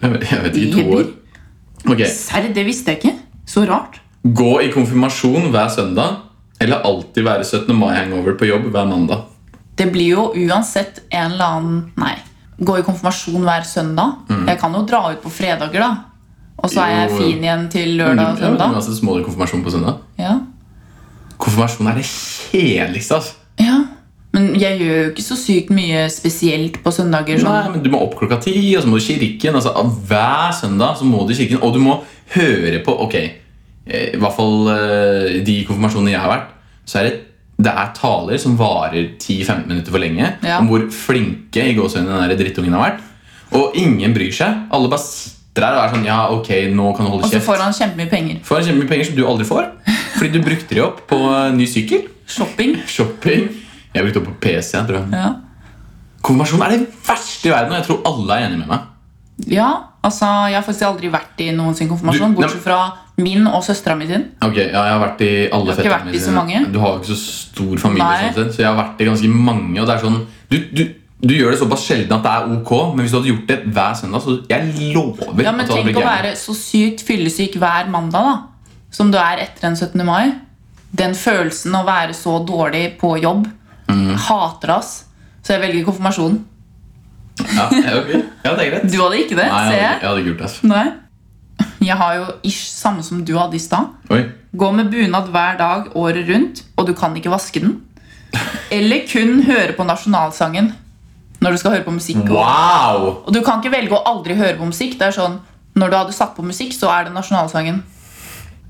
Speaker 1: Jeg vet, jeg vet ikke, to år. Ok,
Speaker 3: Serr, det visste jeg ikke. Så rart.
Speaker 1: Gå i konfirmasjon hver søndag, eller alltid være 17. mai-hangover på jobb hver mandag.
Speaker 3: Det blir jo uansett en eller annen Nei. Gå i konfirmasjon hver søndag. Jeg kan jo dra ut på fredager, da. Og så er
Speaker 1: Mm.
Speaker 3: jeg
Speaker 1: Jo, jo.
Speaker 3: fin igjen til
Speaker 1: Ja,
Speaker 3: lørdag og
Speaker 1: men
Speaker 3: søndag.
Speaker 1: Uansett så må du konfirmasjon på søndag.
Speaker 3: Ja.
Speaker 1: Konfirmasjon er det kjedeligste, altså.
Speaker 3: ja. Men jeg gjør jo ikke så sykt mye spesielt på søndager.
Speaker 1: Nei,
Speaker 3: Sånn.
Speaker 1: men Du må opp klokka ti, og så må du i kirken. Altså, av hver søndag så må du i kirken, og du må høre på Ok, eh, i hvert fall eh, de konfirmasjonene jeg har vært, så er det, det er taler som varer 10-15 minutter for lenge,
Speaker 3: Ja.
Speaker 1: om hvor flinke i gåsehudene den der drittungen har vært. Og ingen bryr seg. Alle bare sitter her og er sånn Ja, ok, nå kan du holde
Speaker 3: Og så
Speaker 1: kjeft.
Speaker 3: får han kjempemye penger.
Speaker 1: Får kjempemye penger som du aldri får, fordi du brukte de opp på eh, ny sykkel.
Speaker 3: Shopping.
Speaker 1: Shopping. Jeg brukte opp på PC. Jeg tror jeg.
Speaker 3: Ja.
Speaker 1: Konfirmasjon er det verste i verden, og jeg tror alle er enige med meg.
Speaker 3: ja, altså Jeg har faktisk aldri vært i noen sin
Speaker 1: Du-
Speaker 3: konfirmasjon,
Speaker 1: nei,
Speaker 3: bortsett fra min og søstera mi sin.
Speaker 1: Ok, ja, Jeg har vært i alle
Speaker 3: har ikke vært i så mange.
Speaker 1: Du har jo ikke så stor familie,
Speaker 3: Nei.
Speaker 1: sånn sett, så jeg har vært i ganske mange. Og det er sånn, du, du, du gjør det såpass sjelden at det er ok, men hvis du hadde gjort det hver søndag så Jeg lover
Speaker 3: Ja, men
Speaker 1: at du hadde
Speaker 3: Tenk
Speaker 1: blitt
Speaker 3: å
Speaker 1: gæren.
Speaker 3: være så sykt fyllesyk hver mandag, da. Som du er etter den 17. mai. Den følelsen å være så dårlig på jobb.
Speaker 1: Mm.
Speaker 3: Hater ass. Så jeg velger konfirmasjon.
Speaker 1: Ja, ja, ok. ja, det er greit.
Speaker 3: Du hadde ikke det,
Speaker 1: Nei, jeg hadde,
Speaker 3: ser jeg.
Speaker 1: jeg hadde ikke gjort det. altså. ass.
Speaker 3: Nei. Jeg har jo ish samme som du hadde i stad.
Speaker 1: Oi.
Speaker 3: Gå med bunad hver dag året rundt, og du kan ikke vaske den. Eller kun høre på nasjonalsangen når du skal høre på musikk.
Speaker 1: Mm.
Speaker 3: Og,
Speaker 1: Wow!
Speaker 3: og du kan ikke velge å aldri høre på musikk. Det er sånn, Når du hadde satt på musikk, så er det nasjonalsangen.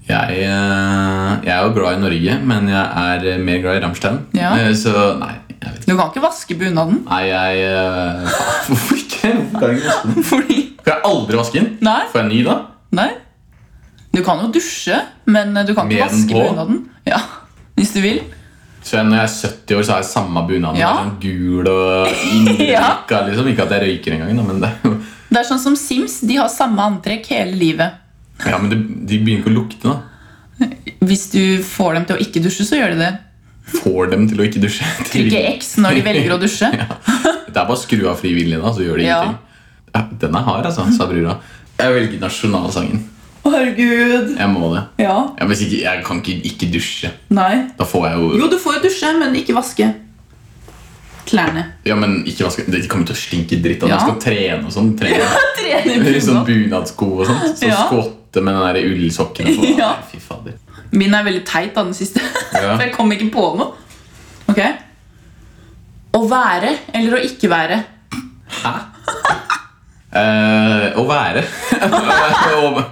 Speaker 1: Jeg, eh, jeg er jo glad i Norge, men jeg er eh, mer glad i Rammstein.
Speaker 3: Ja.
Speaker 1: Eh, Så nei, jeg vet ikke.
Speaker 3: Du kan ikke vaske bunaden.
Speaker 1: Nei, jeg eh, faen, Hvorfor ikke? Hvorfor kan jeg ikke vaske den?
Speaker 3: Fordi
Speaker 1: Kan jeg aldri vaske den?
Speaker 3: Nei.
Speaker 1: Får jeg ny da?
Speaker 3: Nei. Du kan jo dusje, men du kan
Speaker 1: Med
Speaker 3: ikke
Speaker 1: den
Speaker 3: vaske
Speaker 1: på?
Speaker 3: bunaden. Ja, Hvis du vil.
Speaker 1: Så jeg, når jeg er 70 år, så har jeg samme bunaden.
Speaker 3: Ja.
Speaker 1: Det er Sånn gul og innrykka, liksom. Ikke at jeg røyker engang, da, men det er jo
Speaker 3: Det er sånn som Sims. De har samme antrekk hele livet.
Speaker 1: Ja, men det, de begynner ikke å lukte, da.
Speaker 3: Hvis du får dem til å ikke dusje, så gjør de det.
Speaker 1: Får dem til å ikke dusje.
Speaker 3: Trykke X når de velger å dusje.
Speaker 1: Det er bare å skru av frivillig, da, så gjør de
Speaker 3: Ja.
Speaker 1: ingenting. Ja, den er hard, altså, sa brura. Jeg velger nasjonalsangen.
Speaker 3: Å, herregud.
Speaker 1: Jeg må det.
Speaker 3: Ja.
Speaker 1: Ja, hvis ikke, jeg kan ikke ikke dusje.
Speaker 3: Nei.
Speaker 1: Da får jeg jo
Speaker 3: Jo, du får jo dusje, men ikke vaske klærne.
Speaker 1: Ja, men ikke vaske Det kommer til å stinke dritt av det.
Speaker 3: Ja.
Speaker 1: Jeg skal trene og sånn. Trene
Speaker 3: Trene i
Speaker 1: i sånn
Speaker 3: bunad.
Speaker 1: bunadsko og sånt. Så
Speaker 3: Ja.
Speaker 1: skvotter rotte med den der ullsokken på.
Speaker 3: Ja.
Speaker 1: Nei, Fy fader.
Speaker 3: Min er veldig teit, da, den siste.
Speaker 1: Ja.
Speaker 3: For jeg kom ikke på noe. Ok? Å være eller å ikke være.
Speaker 1: Hæ? Eh, å være. Å-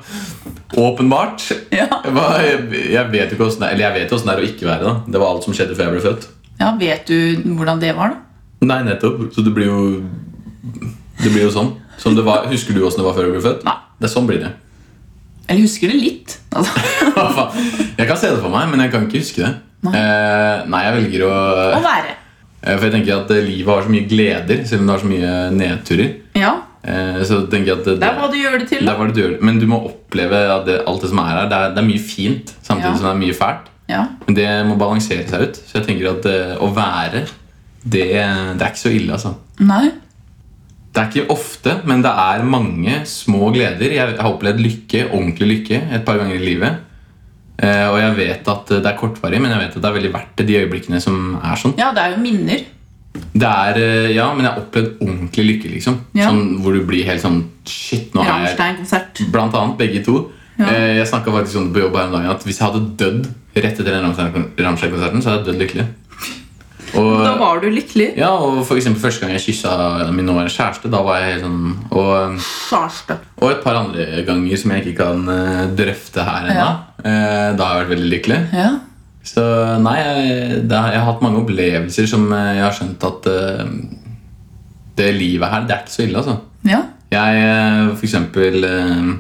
Speaker 1: Åpenbart.
Speaker 3: Ja.
Speaker 1: Hva- Jeg vet jo ikke hvordan det er, eller jeg vet jo hvordan det er å ikke være. da Det var alt som skjedde før jeg ble født.
Speaker 3: Ja, Vet du hvordan det var, da?
Speaker 1: Nei, nettopp. Så det blir jo Det blir jo sånn. Som det var, husker du åssen det var før du ble født?
Speaker 3: Nei.
Speaker 1: Det er sånn blir det.
Speaker 3: Eller husker det litt. Altså.
Speaker 1: Hva faen? Jeg kan se det for meg, men jeg kan ikke huske det.
Speaker 3: Nei.
Speaker 1: Eh, nei, jeg velger å
Speaker 3: Å være.
Speaker 1: eh, For jeg tenker at eh, livet har så mye gleder, selv om det har så mye nedturer.
Speaker 3: Ja,
Speaker 1: Eh, så tenker jeg at det,
Speaker 3: det er hva du gjør det til.
Speaker 1: det er
Speaker 3: da.
Speaker 1: hva du gjør. Men du må oppleve at det, alt det som er her. Det er, det er mye fint, samtidig
Speaker 3: Ja.
Speaker 1: som det er mye fælt.
Speaker 3: Ja.
Speaker 1: Men det må balansere seg ut. Så jeg tenker at eh, å være, det, det er ikke så ille, altså.
Speaker 3: Nei.
Speaker 1: Det er ikke ofte, men det er mange små gleder. Jeg har opplevd lykke, ordentlig lykke et par ganger i livet. Eh, og jeg vet at det er kortvarig, men jeg vet at det er veldig verdt det, de øyeblikkene som er sånn.
Speaker 3: Ja, det er jo minner.
Speaker 1: Det er, eh, ja, men jeg har opplevd ordentlig lykke, liksom.
Speaker 3: Ja.
Speaker 1: Sånn, hvor du blir helt sånn Shit, nå er jeg
Speaker 3: Rammstein-konsert.
Speaker 1: Blant annet begge to.
Speaker 3: Ja.
Speaker 1: Eh, jeg snakka faktisk om det på jobb her om dagen at hvis jeg hadde dødd rett etter den Rammstein- Rammstein-konserten, så hadde jeg dødd lykkelig. Og,
Speaker 3: Da var du lykkelig.
Speaker 1: ja, og for eksempel første gang jeg kyssa min nåværende kjæreste, da var jeg helt sånn og,
Speaker 3: Kjæreste.
Speaker 1: og et par andre ganger som jeg ikke kan eh, drøfte her ennå. Eh, da har jeg vært veldig lykkelig.
Speaker 3: Ja.
Speaker 1: Så nei, jeg, det har, jeg har hatt mange opplevelser som eh, jeg har skjønt at eh, det livet her, det er ikke så ille, altså.
Speaker 3: ja.
Speaker 1: Jeg eh, for eksempel eh,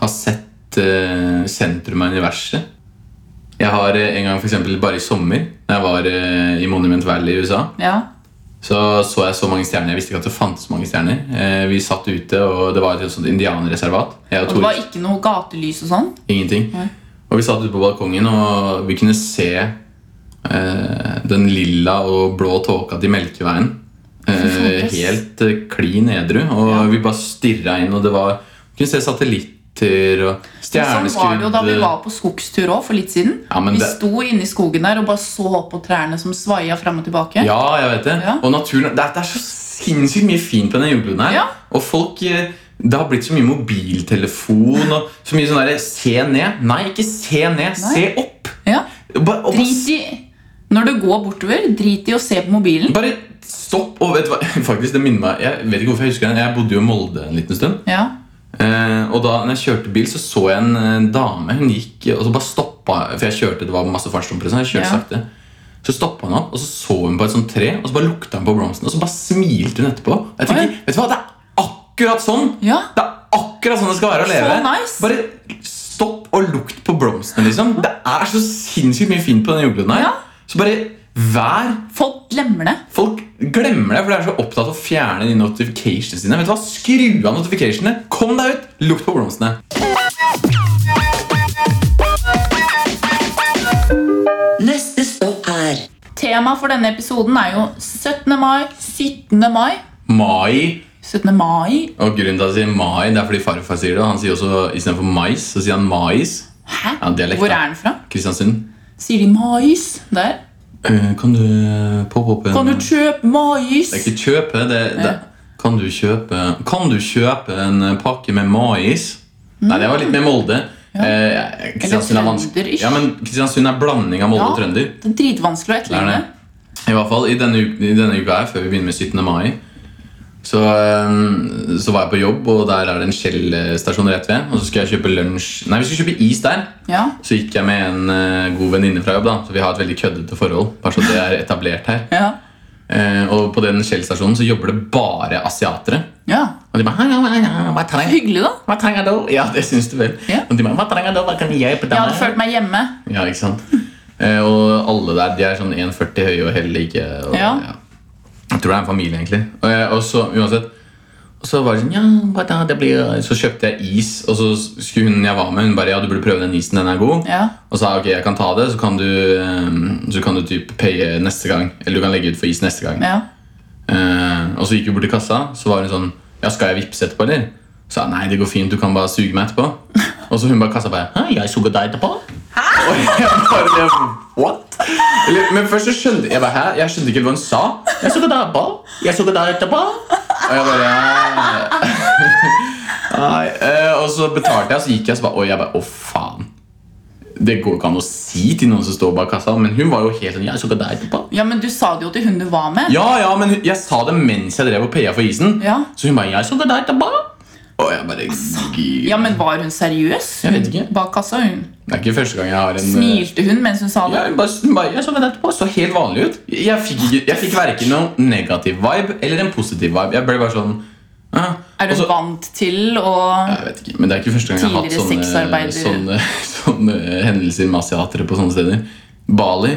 Speaker 1: har sett eh, sentrum av universet. Jeg har eh, en gang for eksempel bare i sommer, da jeg var eh, i Monument Valley i USA,
Speaker 3: Ja.
Speaker 1: så så jeg så mange stjerner. Jeg visste ikke at det fantes så mange stjerner. Eh, vi satt ute, og det var et sånt indianerreservat. Jeg og
Speaker 3: Og det
Speaker 1: Tore-
Speaker 3: var ikke noe gatelys og sånn.
Speaker 1: Ingenting.
Speaker 3: Nei.
Speaker 1: Og vi satt ute på balkongen, og vi kunne se eh, den lilla og blå tåka til Melkeveien. Eh,
Speaker 3: Fantastisk.
Speaker 1: helt eh, klin edru. Og vi bare stirra inn, og det var Vi kunne se satellitter og
Speaker 3: Sånn var det jo da vi
Speaker 1: stjerneskudd.
Speaker 3: var på skogstur òg for litt siden.
Speaker 1: Ja, men
Speaker 3: vi
Speaker 1: det-
Speaker 3: sto inne i skogen der og bare så på trærne som svaia fram og tilbake.
Speaker 1: eh, Ja, jeg vet det.
Speaker 3: Ja.
Speaker 1: Og naturen det er, det er så sinnssykt mye fint på denne jordkloden her.
Speaker 3: Ja.
Speaker 1: Og folk eh, Det har blitt så mye mobiltelefon og så mye sånn derre Se ned. Nei, ikke se ned. Se opp.
Speaker 3: Ja.
Speaker 1: Bare, og bare
Speaker 3: Drit i Når du går bortover, drit i å se på mobilen.
Speaker 1: Bare stopp og vet du hva Faktisk, det minner meg Jeg vet ikke hvorfor jeg husker den Jeg bodde jo i Molde en liten stund
Speaker 3: Ja.
Speaker 1: eh, Og da når jeg kjørte bil så så jeg en eh, dame Hun gikk og så bare stoppet For jeg kjørte, det var masse fartstumper og sånn, Jeg kjørte
Speaker 3: Ja.
Speaker 1: sakte Så stoppet hun opp Og så så hun på et sånt tre Og så bare lukta hun på blomsten Og så bare smilte hun etterpå Og Jeg tenker,
Speaker 3: Oi.
Speaker 1: vet du hva? Det er akkurat sånn
Speaker 3: Ja.
Speaker 1: Det er akkurat sånn det skal være å
Speaker 3: Så
Speaker 1: leve
Speaker 3: nice.
Speaker 1: Bare stopp og lukt på blomsten liksom Det er så sinnssykt mye fint på denne jordkloden her
Speaker 3: Ja.
Speaker 1: Så bare vær
Speaker 3: Folk glemmer det.
Speaker 1: Folk glemmer det, for de er så opptatt av å fjerne de notificationene sine. Vet du hva? Skru av notificationene! Kom deg ut! Lukt på blomstene.
Speaker 2: Neste stopp er
Speaker 3: Temaet for denne episoden er jo 17. mai, 17. mai.
Speaker 1: Mai.
Speaker 3: 17. mai?
Speaker 1: Og grunnen til at jeg sier mai, det er fordi farfar sier det. og Han sier også istedenfor mais, så sier han mais.
Speaker 3: Hæ?
Speaker 1: Ja, dialekt,
Speaker 3: Hvor
Speaker 1: da.
Speaker 3: er den fra?
Speaker 1: Kristiansund.
Speaker 3: Sier de mais der?
Speaker 1: Eh, kan du poppe opp en
Speaker 3: Kan du kjøpe
Speaker 1: Mm.
Speaker 3: mais?
Speaker 1: Det er ikke kjøpe, det, det Kan du kjøpe Kan du kjøpe en eh, pakke med mais? Nei, det var
Speaker 3: Mm.
Speaker 1: litt mer Molde. Eh, Kristiansund er vanskelig.
Speaker 3: trønder-ish.
Speaker 1: Ja, men Kristiansund er blanding av Molde og
Speaker 3: Ja.
Speaker 1: trønder.
Speaker 3: Det er dritvanskelig å
Speaker 1: Det er
Speaker 3: etterligne.
Speaker 1: det. I hvert fall i denne, u- i denne uka her, før vi begynner med 17. mai, så, øhm, så var jeg på jobb, og der er det en Shell-stasjon rett ved. Og så skal jeg kjøpe lunsj Nei, vi skal kjøpe is der.
Speaker 3: Ja.
Speaker 1: Så gikk jeg med en øh, god venninne fra jobb, da. Så vi har et veldig køddete forhold. Bare så det er etablert her.
Speaker 3: Ja.
Speaker 1: Eh, og på den Shell-stasjonen så jobber det bare asiatere.
Speaker 3: ja.
Speaker 1: Og de bare «Hallo, hallo, hva trenger,
Speaker 3: Hyggelig, da.
Speaker 1: hva trenger du? Ja, det syns du vel.
Speaker 3: Ja.
Speaker 1: Og de bare Hva trenger du? Hva kan jeg hjelpe deg
Speaker 3: Jeg hadde følt meg hjemme.
Speaker 1: ja, ikke sant? Eh, og alle der de er sånn 1,40 høye og heller ikke og,
Speaker 3: Ja.
Speaker 1: Jeg tror det er en familie, egentlig. Og, jeg- og så uansett og så var det sånn, ja, hva da, det blir... Så kjøpte jeg is, og så skulle hun jeg var med, hun bare, ja, du burde prøve den isen, den er god.
Speaker 3: Ja.
Speaker 1: Og så sa jeg, ok, jeg kan ta det, så kan du, eh, så kan du typ paye neste gang, eller du kan legge ut for is neste gang.
Speaker 3: Ja.
Speaker 1: Eh, og så gikk vi bort til kassa, så var hun sånn Ja, skal jeg vippse etterpå, eller? Så sa jeg, nei, det går fint, du kan bare suge meg etterpå. Og så hun bare kassa bare Hæ, jeg suger deg etterpå? Og jeg bare det, What? Eller, men først så skjønte jeg bare, hæ? Jeg skjønte ikke hva hun sa. Jeg suger deg etterpå. Jeg suger deg etterpå. Og jeg bare «Ja.» Nei, eh, og så betalte jeg, og så gikk jeg, og så bare, oi, jeg bare, å faen. Det går ikke an å si til noen som står bak kassa, men hun var jo helt sånn, jeg så ikke deg etterpå.
Speaker 3: Ja, men du sa det jo til hun du var med.
Speaker 1: Ja, ja, men hun- jeg sa det mens jeg drev og paya for isen.
Speaker 3: Ja.
Speaker 1: Så hun bare 'Jeg så det der etterpå'. Og jeg bare gir.
Speaker 3: Ja, men var hun seriøs?
Speaker 1: Jeg vet ikke.
Speaker 3: Bak kassa, hun.
Speaker 1: Det er ikke første gang jeg har en eh,
Speaker 3: Smilte hun mens hun sa det?
Speaker 1: Ja, hun bare, hun bare, jeg så det der etterpå. Så helt vanlig ut. Jeg fikk, ikke- jeg fikk verken noen negativ vibe eller en positiv vibe. Jeg ble bare sånn ah.
Speaker 3: Er
Speaker 1: Og
Speaker 3: hun
Speaker 1: så-
Speaker 3: vant til å
Speaker 1: Jeg vet ikke, men det er ikke første gang jeg har hatt
Speaker 3: Tidligere
Speaker 1: sånne, sånne,
Speaker 3: sexarbeidere.
Speaker 1: sånne hendelser med asiatere på sånne steder. Bali.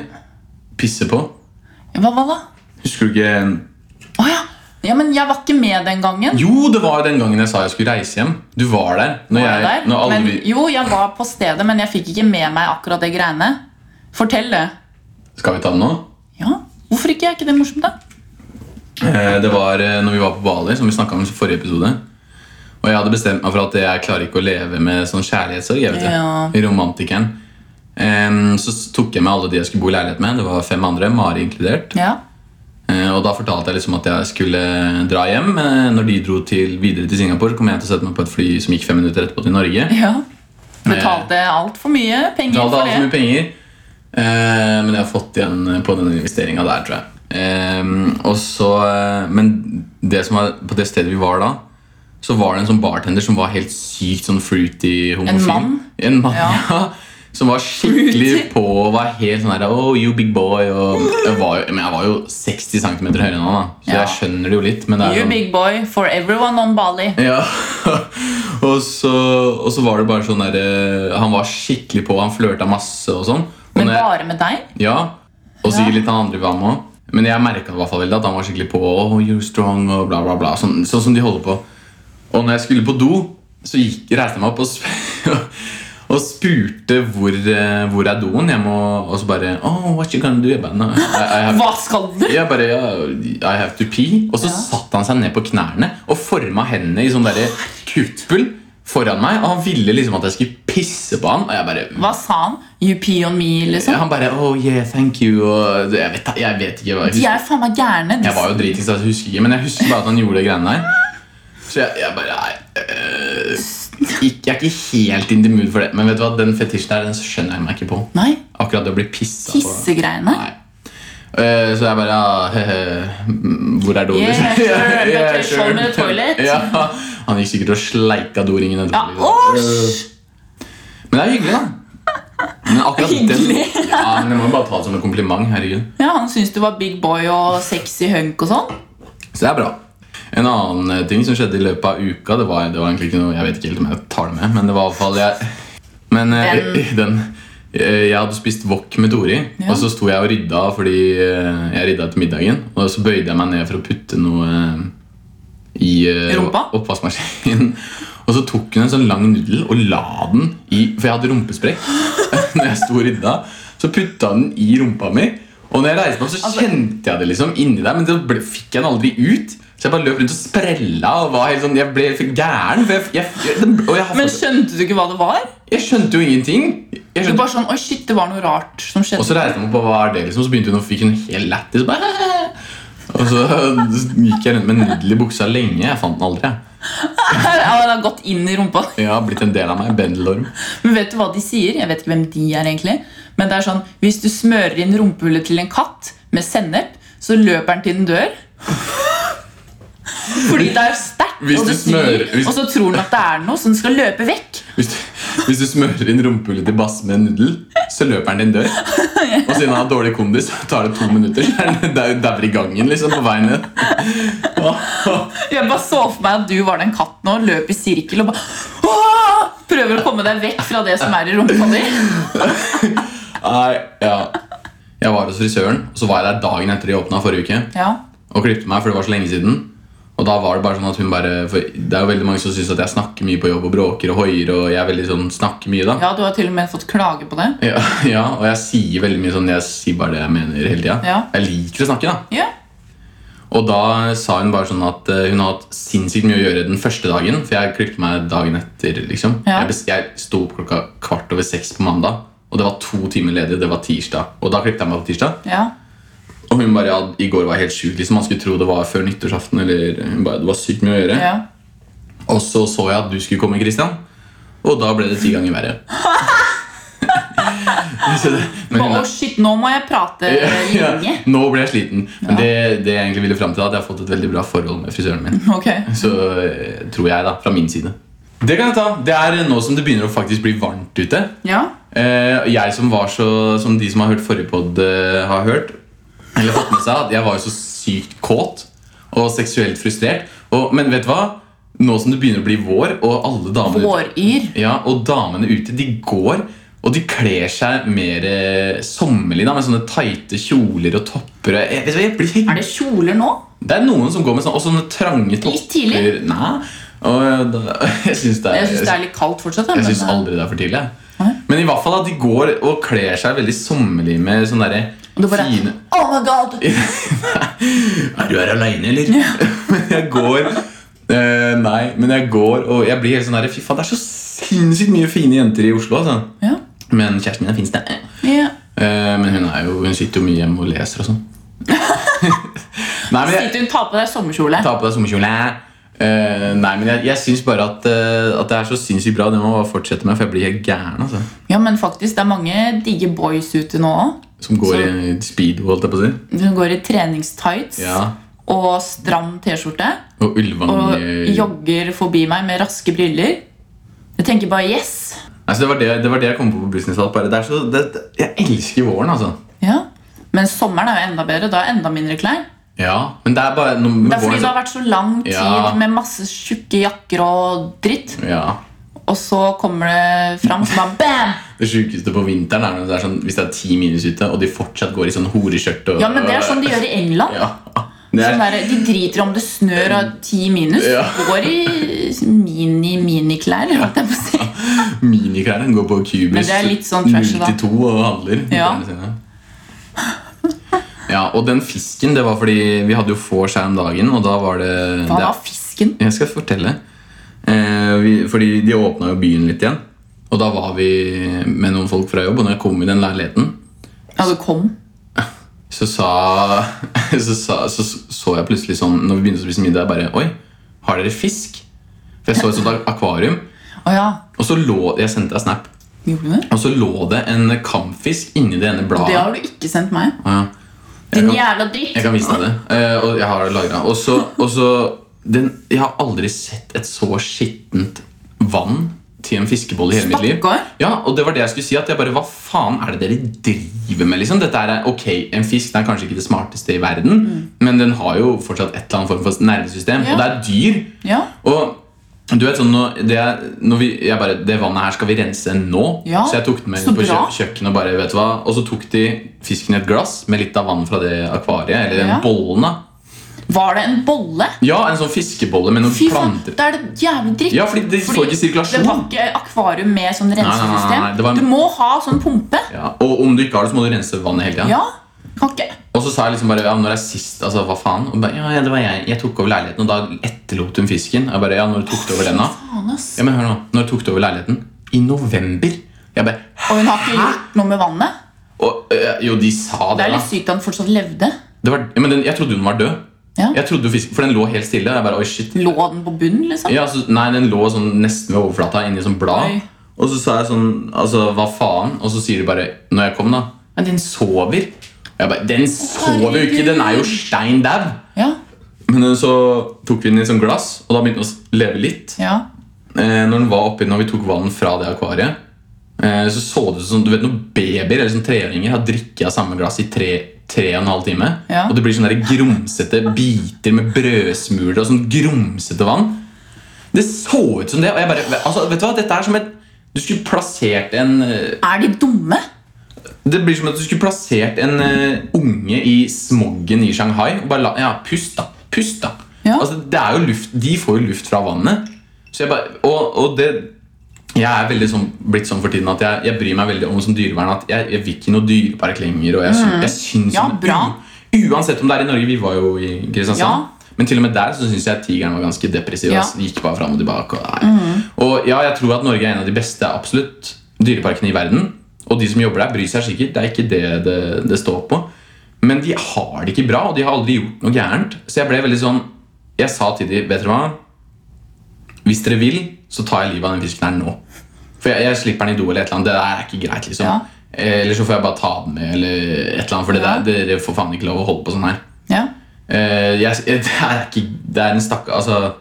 Speaker 1: Pisse på.
Speaker 3: Hva var det?
Speaker 1: Husker du ikke
Speaker 3: Å ja. ja, men jeg var ikke med den gangen.
Speaker 1: Jo, det var jo den gangen jeg sa jeg skulle reise hjem. Du var der. Når
Speaker 3: Var jeg
Speaker 1: jeg,
Speaker 3: der?
Speaker 1: når alle
Speaker 3: men,
Speaker 1: vi-
Speaker 3: jo, jeg var på stedet, men jeg fikk ikke med meg akkurat det greiene. Fortell det.
Speaker 1: Skal vi ta den nå?
Speaker 3: Ja, Hvorfor ikke? Er ikke det morsomt, da?
Speaker 1: Eh, Det var eh, når vi var på Bali, som vi snakka om i forrige episode. Og jeg hadde bestemt meg for at jeg klarer ikke å leve med sånn kjærlighetssorg. jeg vet det.
Speaker 3: Ja.
Speaker 1: Romantikeren. Em, så s- tok jeg med alle de jeg skulle bo i leilighet med. Det var fem andre, Mari inkludert.
Speaker 3: Ja.
Speaker 1: Eh, Og da fortalte jeg liksom at jeg skulle dra hjem. Eh, Når de dro til, videre til Singapore, kom jeg til å sette meg på et fly som gikk fem minutter etterpå til Norge.
Speaker 3: ja. Betalte altfor mye penger
Speaker 1: Jeg hadde
Speaker 3: for
Speaker 1: alt for mye
Speaker 3: det.
Speaker 1: penger, eh, men jeg har fått igjen på den investeringa der, tror jeg. Eh, og så, eh, men det som var, på det stedet vi var da, så var det en sånn bartender som var helt sykt sånn fruity homofil.
Speaker 3: En mann?
Speaker 1: En mann, ja.
Speaker 3: Ja.
Speaker 1: Som var skikkelig
Speaker 3: Fruity.
Speaker 1: på og var helt sånn her Oh, you big boy. Og jeg var jo, men jeg var jo 60 cm høyere enn han, da, så
Speaker 3: Ja.
Speaker 1: jeg skjønner det jo litt. Men det er
Speaker 3: You
Speaker 1: sånn,
Speaker 3: big boy for everyone on Bali.
Speaker 1: ja, og så, og så var det bare sånn der eh, Han var skikkelig på, han flørta masse og sånn. Og
Speaker 3: Men
Speaker 1: når jeg,
Speaker 3: bare med deg?
Speaker 1: ja, og sikkert
Speaker 3: Ja.
Speaker 1: litt han andre var med òg. Men jeg merka veldig at han var skikkelig på. Oh, you're strong og bla bla bla Sånn, sånn som de holder på. Og når jeg skulle på do, så gikk, reiste jeg meg opp og, sp og spurte hvor, eh, hvor er doen. Jeg må, og så bare oh, what you gonna do? Jeg bare, no, I, I have
Speaker 3: Hva skal du?
Speaker 1: jeg bare, ja, I have to pee Og så
Speaker 3: Ja.
Speaker 1: satt han seg ned på knærne Og formet hendene i sånn der kuppel Foran meg Og han ville liksom at jeg skulle pisse på han Og jeg bare
Speaker 3: Hva sa han? You pee on me, liksom?
Speaker 1: Han bare, oh yeah, thank you Og jeg vet, jeg vet ikke hva jeg
Speaker 3: De
Speaker 1: husker
Speaker 3: er faen meg gærne.
Speaker 1: Jeg var jo dritig, så jeg husker ikke Men jeg husker bare at han gjorde det greiene der Så jeg, jeg bare, nei øh, ikke, Jeg er ikke helt in the mood for det Men vet du hva, den fetisjen der, den skjønner jeg meg ikke på
Speaker 3: Nei,
Speaker 1: Akkurat det å bli pisset på
Speaker 3: tissegreiene.
Speaker 1: Nei. Eh, Så jeg bare ja, he-he, Hvor er doen?
Speaker 3: Yeah,
Speaker 1: liksom?
Speaker 3: sure, okay, show me the toilet.
Speaker 1: ja, han gikk sikkert og sleika doringen etterpå.
Speaker 3: Ja,
Speaker 1: liksom.
Speaker 3: åsj!
Speaker 1: Men det er hyggelig, da. Men akkurat den
Speaker 3: Hyggelig.
Speaker 1: ja, men Jeg må bare ta det som en kompliment. herregud
Speaker 3: Ja, han syntes du var big boy og sexy hunk og sånn.
Speaker 1: Så det er bra. En annen eh, ting som skjedde i løpet av uka Det var, det var egentlig ikke noe, Jeg vet ikke helt om jeg tar det med, men det var i hvert fall jeg, Men eh, den eh, Jeg hadde spist wok med Tori,
Speaker 3: Ja.
Speaker 1: og så sto jeg og rydda fordi eh, jeg rydda etter middagen. Og så bøyde jeg meg ned for å putte noe eh, i eh,
Speaker 3: Rumpa?
Speaker 1: oppvaskmaskinen. Og så tok hun en sånn lang nudel og la den i For jeg hadde rumpesprekk. Når jeg sto og rydda, så putta den i rumpa mi. Og når jeg reiste meg opp, så
Speaker 3: Altså-
Speaker 1: kjente jeg det liksom inni der, men det ble, fikk jeg den aldri ut. Så jeg bare løp rundt og sprella og var helt sånn Jeg ble helt gæren. For jeg, jeg, jeg, og jeg, har
Speaker 3: Men
Speaker 1: fått-
Speaker 3: skjønte du ikke hva det var?
Speaker 1: jeg skjønte jo ingenting. Jeg
Speaker 3: Du
Speaker 1: skjønte,
Speaker 3: bare sånn, oi shit, det var noe rart som
Speaker 1: og så
Speaker 3: skjedde.
Speaker 1: reiste jeg meg opp, og hva er det liksom? Så begynte hun å fikk hun helt lættis. bare, «Hæ?» Og så gikk jeg rundt med nudel i buksa lenge. Jeg fant den aldri. jeg.
Speaker 3: Ja, det har gått inn i rumpa.
Speaker 1: Jeg har blitt en del av meg. Bendelorm.
Speaker 3: Men vet du hva de sier? Jeg vet ikke hvem de er egentlig. Men det er sånn, hvis du smører inn rumpehullet til en katt med sennep, så løper den til den dør. Fordi det er sterkt,
Speaker 1: Hvis
Speaker 3: og
Speaker 1: du
Speaker 3: det svir,
Speaker 1: smører- hvis-
Speaker 3: og så tror den at det er noe, så den skal løpe vekk.
Speaker 1: Hvis du, hvis du smører inn rumpehullet til Bass med en nudel, så løper han din dør. Og siden han har dårlig kondis, så tar det to minutter. så er han dau- Dauer i gangen liksom på veien ned.
Speaker 3: Jeg bare så for meg at du var den katten og løp i sirkel og bare Åh! Prøver å komme deg vekk fra det som er i rumpa di.
Speaker 1: Nei, ja. Jeg var hos frisøren, og så var jeg der dagen etter de åpna forrige uke.
Speaker 3: Ja.
Speaker 1: Og klippte meg, for det var så lenge siden. Og da var det bare sånn at hun bare For det er jo veldig mange som syns at jeg snakker mye på jobb og bråker og hoier, og jeg er veldig sånn snakker mye, da.
Speaker 3: ja, du har til og med fått klage på det.
Speaker 1: Ja, ja, og jeg sier veldig mye sånn Jeg sier bare det jeg mener hele tida.
Speaker 3: Ja.
Speaker 1: Jeg liker å snakke, da.
Speaker 3: Ja.
Speaker 1: Og da sa hun bare sånn at eh, hun har hatt sinnssykt mye å gjøre den første dagen. For jeg klippet meg dagen etter. liksom
Speaker 3: Ja.
Speaker 1: Jeg, bes- jeg sto opp klokka kvart over seks på mandag, og det var to timer ledig. Det var tirsdag. Og da klippet jeg meg på tirsdag.
Speaker 3: ja.
Speaker 1: Og hun bare ja, i går var jeg helt sjuk. Liksom. Man skulle tro det var før nyttårsaften. Eller hun bare, det var sykt mye å gjøre
Speaker 3: ja.
Speaker 1: Og så så jeg at du skulle komme, Christian. Og da ble det ti ganger verre. Så det- men
Speaker 3: Bare,
Speaker 1: hun er-
Speaker 3: Å, shit, nå må jeg prate
Speaker 1: Ja,
Speaker 3: eh, lenge.
Speaker 1: Nå ble jeg sliten. Men det, det jeg egentlig ville fram til, da, at jeg har fått et veldig bra forhold med frisøren min.
Speaker 3: Ok.
Speaker 1: Så eh, tror jeg, da, fra min side. Det kan jeg ta. Det er nå som det begynner å faktisk bli varmt ute.
Speaker 3: Ja.
Speaker 1: Eh, jeg som var så Som de som har hørt forrige pod, eh, har hørt, eller fått med seg, at jeg var jo så sykt kåt og seksuelt frustrert. Og, men vet du hva? Nå som det begynner å bli vår, og alle damene
Speaker 3: Våryr.
Speaker 1: ja, og damene ute, de går og de kler seg mer eh, sommerlig da, med sånne tighte kjoler og topper. og Jeg, vet du hva, jeg blir helt-
Speaker 3: Er det kjoler nå?
Speaker 1: det er noen som går med sånne, og sånne trange topper.
Speaker 3: Litt tidlig.
Speaker 1: Nei, og da, jeg syns det er,
Speaker 3: Jeg syns det er litt kaldt fortsatt. da,
Speaker 1: jeg
Speaker 3: men, eh,
Speaker 1: synes aldri det er for tidlig. jeg.
Speaker 3: Nei.
Speaker 1: Men i hvert fall at de går og kler seg veldig sommerlig med sånne derre
Speaker 3: Og du bare
Speaker 1: fine
Speaker 3: Oh my god!
Speaker 1: Er du her aleine, eller? men jeg går eh, Nei, men jeg går og jeg blir helt sånn derre Fy faen, det er så sinnssykt mye fine jenter i Oslo, altså.
Speaker 3: Ja.
Speaker 1: Men kjæresten min er finnes det.
Speaker 3: ja.
Speaker 1: Eh, men hun, er jo, hun sitter jo mye hjemme og leser og sånn. nei, men jeg
Speaker 3: Sitter hun tar på deg sommerkjole.
Speaker 1: tar på deg sommerkjole. Eh, nei, men jeg, jeg syns bare at, eh, at det er så sinnssykt bra. Det må man bare fortsette med, for jeg blir helt gæren. altså.
Speaker 3: Ja, men faktisk, det er mange digge boys ute nå òg.
Speaker 1: Som går i speedo, holdt jeg på å si.
Speaker 3: Hun går i treningstights
Speaker 1: Ja.
Speaker 3: og stram T-skjorte.
Speaker 1: Og Ulvang
Speaker 3: Og
Speaker 1: eh,
Speaker 3: jogger forbi meg med raske briller. Jeg tenker bare yes.
Speaker 1: altså, det, var det, det var det jeg kom på på Business Alt. Bare. Det er så, det, det- jeg elsker våren, altså.
Speaker 3: Ja. Men sommeren er jo enda bedre. Da er enda mindre klær.
Speaker 1: Ja, men det er bare noe med
Speaker 3: Det er fordi
Speaker 1: våren
Speaker 3: det
Speaker 1: så-
Speaker 3: har vært så lang tid
Speaker 1: Ja.
Speaker 3: med masse tjukke jakker og dritt.
Speaker 1: ja.
Speaker 3: Og så kommer det fram, så bare bam!
Speaker 1: Det sjukeste på vinteren er når det er sånn, hvis det er ti minus ute, og de fortsatt går i sånn horeskjørt. og-
Speaker 3: Ja, men det er sånn de gjør i England.
Speaker 1: Ja. Det er,
Speaker 3: Sånn der, de driter om det snør og ti minus.
Speaker 1: Ja.
Speaker 3: Går i mini-miniklær, holdt jeg på å si.
Speaker 1: Miniklærne går på
Speaker 3: Men
Speaker 1: Cubus
Speaker 3: det er litt sånn
Speaker 1: 0
Speaker 3: trashy, da.
Speaker 1: til 2 og handler.
Speaker 3: Ja.
Speaker 1: klærne sine. ja, Og den fisken, det var fordi vi hadde jo vors her om dagen, og da var det,
Speaker 3: Hva
Speaker 1: det
Speaker 3: da, fisken?
Speaker 1: Jeg skal fortelle. Eh, vi, fordi de åpna jo byen litt igjen. Og da var vi med noen folk fra jobb, og når jeg kom i den leiligheten,
Speaker 3: Ja, det kom.
Speaker 1: så sa, så, sa så, så jeg plutselig sånn Når vi begynte å spise middag, jeg bare Oi, har dere fisk? For jeg så et sånt akvarium,
Speaker 3: Å ja.
Speaker 1: og så lå Jeg sendte deg snap.
Speaker 3: Gjorde du det?
Speaker 1: Og så lå det en kamfisk inni det ene bladet.
Speaker 3: Det har du ikke sendt meg.
Speaker 1: Ja. Jeg,
Speaker 3: Din
Speaker 1: kan,
Speaker 3: jævla dritt.
Speaker 1: jeg kan vise deg det. Eh, og jeg har det lagra. Og så, og så den, Jeg har aldri sett et så skittent vann til en fiskebolle i hele mitt liv.
Speaker 3: Stakkar.
Speaker 1: Ja, og det var det jeg skulle si. At jeg bare, Hva faen er det dere driver med? liksom? Dette er, ok, En fisk den er kanskje ikke det smarteste i verden, men den har jo fortsatt et eller annet form for nervesystem.
Speaker 3: Mm. Ja.
Speaker 1: Og det er dyr.
Speaker 3: Ja.
Speaker 1: Og du vet sånn, når det, når vi, jeg bare, det vannet her skal vi rense nå.
Speaker 3: Ja,
Speaker 1: Så jeg tok den med
Speaker 3: så
Speaker 1: inn på
Speaker 3: bra.
Speaker 1: kjø kjøkkenet og bare, vet du hva Og så tok de fisken i et glass med litt av vann fra det akvariet. Eller den
Speaker 3: Ja.
Speaker 1: bollen, da.
Speaker 3: Var det en bolle?
Speaker 1: Ja, en sånn fiskebolle med noen
Speaker 3: Fy faen,
Speaker 1: planter.
Speaker 3: da er det jævlig dritt.
Speaker 1: Ja, fordi de får ikke sirkulasjon.
Speaker 3: Det var ikke akvarium med sånn
Speaker 1: Nei, nei, nei, nei, det
Speaker 3: rensesystem.
Speaker 1: var-
Speaker 3: Du må ha sånn pumpe.
Speaker 1: Ja, og om du ikke har det, så må du rense vannet hele tiden
Speaker 3: Ja. Kan ikke.
Speaker 1: Og så sa jeg liksom bare ja, når er sist Altså, hva faen? Og bare, ja, ja, det var jeg. Jeg tok over leiligheten, og da etterlot hun fisken. Jeg bare, ja, når tok du over den, da?
Speaker 3: Faen, ass.
Speaker 1: Ja, men hør nå. Når tok du over leiligheten? I november. Jeg bare
Speaker 3: Og hun har ikke gjort noe med vannet.
Speaker 1: og, øh, Jo, de sa
Speaker 3: Det
Speaker 1: det,
Speaker 3: er
Speaker 1: da.
Speaker 3: litt sykt at han fortsatt levde.
Speaker 1: Det var, ja, men den, jeg trodde hun var død.
Speaker 3: Ja.
Speaker 1: Jeg trodde jo fisken, For den lå helt stille. og Jeg bare, oi shit
Speaker 3: Lå den på bunnen, liksom?
Speaker 1: ja, så, Nei, den lå sånn nesten ved overflata, inni sånn blad.
Speaker 3: Oi.
Speaker 1: Og så sa jeg sånn Altså, hva faen? Og så sier de bare Når jeg kom, da Ja, den sover. Og Jeg bare, Den sover jo ikke! Den er jo stein dau!
Speaker 3: Ja.
Speaker 1: Men eh, så tok vi den i sånn glass, og da begynte den å s- leve litt.
Speaker 3: ja.
Speaker 1: Eh, når den var oppi, når vi tok vann fra det akvariet, eh, så så det ut som du vet når babyer eller sånn treåringer har drikket av samme glass i tre, tre og en halv time.
Speaker 3: Ja.
Speaker 1: Og det blir sånne der grumsete biter med brødsmuler og sånn grumsete vann. Det så ut som det. Og jeg bare, altså, vet du hva, dette er som et Du skulle plassert en eh,
Speaker 3: Er de dumme?
Speaker 1: Det blir som at du skulle plassert en eh, unge i smoggen i Shanghai og bare la Ja, pust, da. Pust, da.
Speaker 3: Ja.
Speaker 1: Altså, det er jo luft, de får jo luft fra vannet. Så jeg bare, og, og det Jeg er veldig sånn, blitt sånn for tiden at jeg, jeg bryr meg veldig om som dyrevern at jeg, jeg vil ikke noe dyrepark lenger. Og jeg, sy- jeg syns
Speaker 3: Mm. Ja,
Speaker 1: om det.
Speaker 3: bra.
Speaker 1: U, uansett om det er i Norge Vi var jo i Kristiansand.
Speaker 3: Ja.
Speaker 1: Men til og med der så syns jeg tigeren var ganske depressiv.
Speaker 3: Ja. Mhm.
Speaker 1: ass. Den Gikk bare frem og tilbake. Og, nei. og ja, jeg tror at Norge er en av de beste absolutt dyreparkene i verden. Og de som jobber der, bryr seg sikkert. Det er ikke det det, det står på. Men de har det ikke bra, og de har aldri gjort noe gærent. Så jeg ble veldig sånn Jeg sa til de, vet dere hva Hvis dere vil, så tar jeg livet av den fisken her nå. For jeg, jeg slipper den i do eller et eller annet. Det der er ikke greit, liksom.
Speaker 3: Ja.
Speaker 1: Eh, Eller så får jeg bare ta den med, eller et eller annet. For det
Speaker 3: Ja.
Speaker 1: der, dere får faen ikke lov å holde på sånn her.
Speaker 3: Ja.
Speaker 1: Eh, jeg, jeg, det er ikke Det er en stakk... Altså,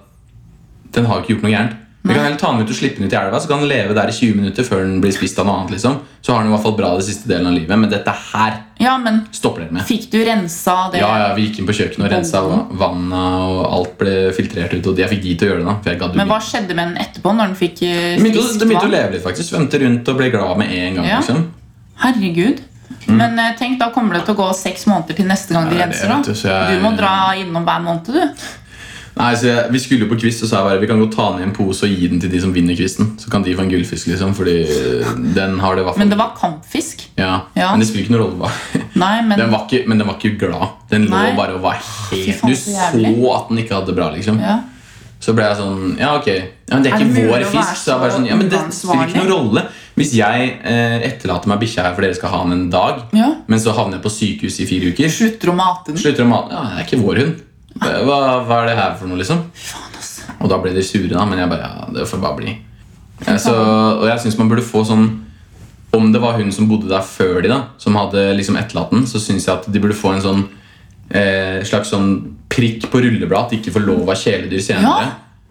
Speaker 1: den har jo ikke gjort noe gærent. Vi kan heller ta den ut og slippe den ut i elva, så kan den leve der i 20 minutter før den blir spist av noe annet. liksom Så har den i hvert fall bra det siste delen av livet, men dette her
Speaker 3: ja, men
Speaker 1: stopper dere med.
Speaker 3: fikk du rensa det?
Speaker 1: Ja, ja, Vi gikk inn på kjøkkenet og rensa va- vanna, og alt ble filtrert ut. Og jeg fikk de til å gjøre det, da. For jeg gadd jo
Speaker 3: Men
Speaker 1: ikke.
Speaker 3: hva skjedde med den etterpå, når den fikk eh,
Speaker 1: Den begynte, å-
Speaker 3: friskt
Speaker 1: den begynte å
Speaker 3: vann?
Speaker 1: leve litt, faktisk. Svømte rundt og ble glad med en gang.
Speaker 3: Ja.
Speaker 1: liksom
Speaker 3: Herregud. Men eh, tenk, da kommer det til å gå seks måneder til neste gang de
Speaker 1: Ja, Mm. det
Speaker 3: renser.
Speaker 1: vet
Speaker 3: da.
Speaker 1: du, så jeg-
Speaker 3: Du må dra innom hver måned, du.
Speaker 1: Nei, så jeg, Vi skulle jo på quiz, og sa jeg bare vi kan godt ta ned en pose og gi den til de som vinner quizen. Så kan de få en gullfisk, liksom. Fordi den har det i hvert fall
Speaker 3: Men det var kampfisk.
Speaker 1: Ja,
Speaker 3: Ja.
Speaker 1: Men det spiller ikke noen rolle. hva-
Speaker 3: Nei, men
Speaker 1: Den var ikke, men den var ikke glad. Den lå
Speaker 3: Nei.
Speaker 1: bare og var
Speaker 3: Fy
Speaker 1: helt
Speaker 3: faen,
Speaker 1: Du
Speaker 3: så
Speaker 1: så
Speaker 3: jævlig.
Speaker 1: at den ikke hadde det bra, liksom.
Speaker 3: ja.
Speaker 1: Så ble jeg sånn Ja, ok. Ja, men det er,
Speaker 3: Er det
Speaker 1: ikke
Speaker 3: mulig
Speaker 1: vår
Speaker 3: å være
Speaker 1: fisk. Så jeg bare
Speaker 3: så
Speaker 1: sånn, ja, men det spiller ikke
Speaker 3: uansvarlig?
Speaker 1: noen rolle. Hvis jeg eh, etterlater meg bikkja her for dere skal ha den en dag,
Speaker 3: Ja.
Speaker 1: men så havner jeg på sykehus i fire uker
Speaker 3: Slutter å mate den.
Speaker 1: Slutter å mate Ja, det er ikke vår hund. Hva, hva er det her for noe, liksom? Og da ble de sure, da, men jeg bare Ja, det får bare bli. Eh, Så, og jeg syns man burde få sånn Om det var hun som bodde der før de, da, som hadde liksom etterlatt den, så syns jeg at de burde få en sånn eh, slags sånn prikk på rullebladet at de ikke får lov av kjæledyr senere.
Speaker 3: Ja.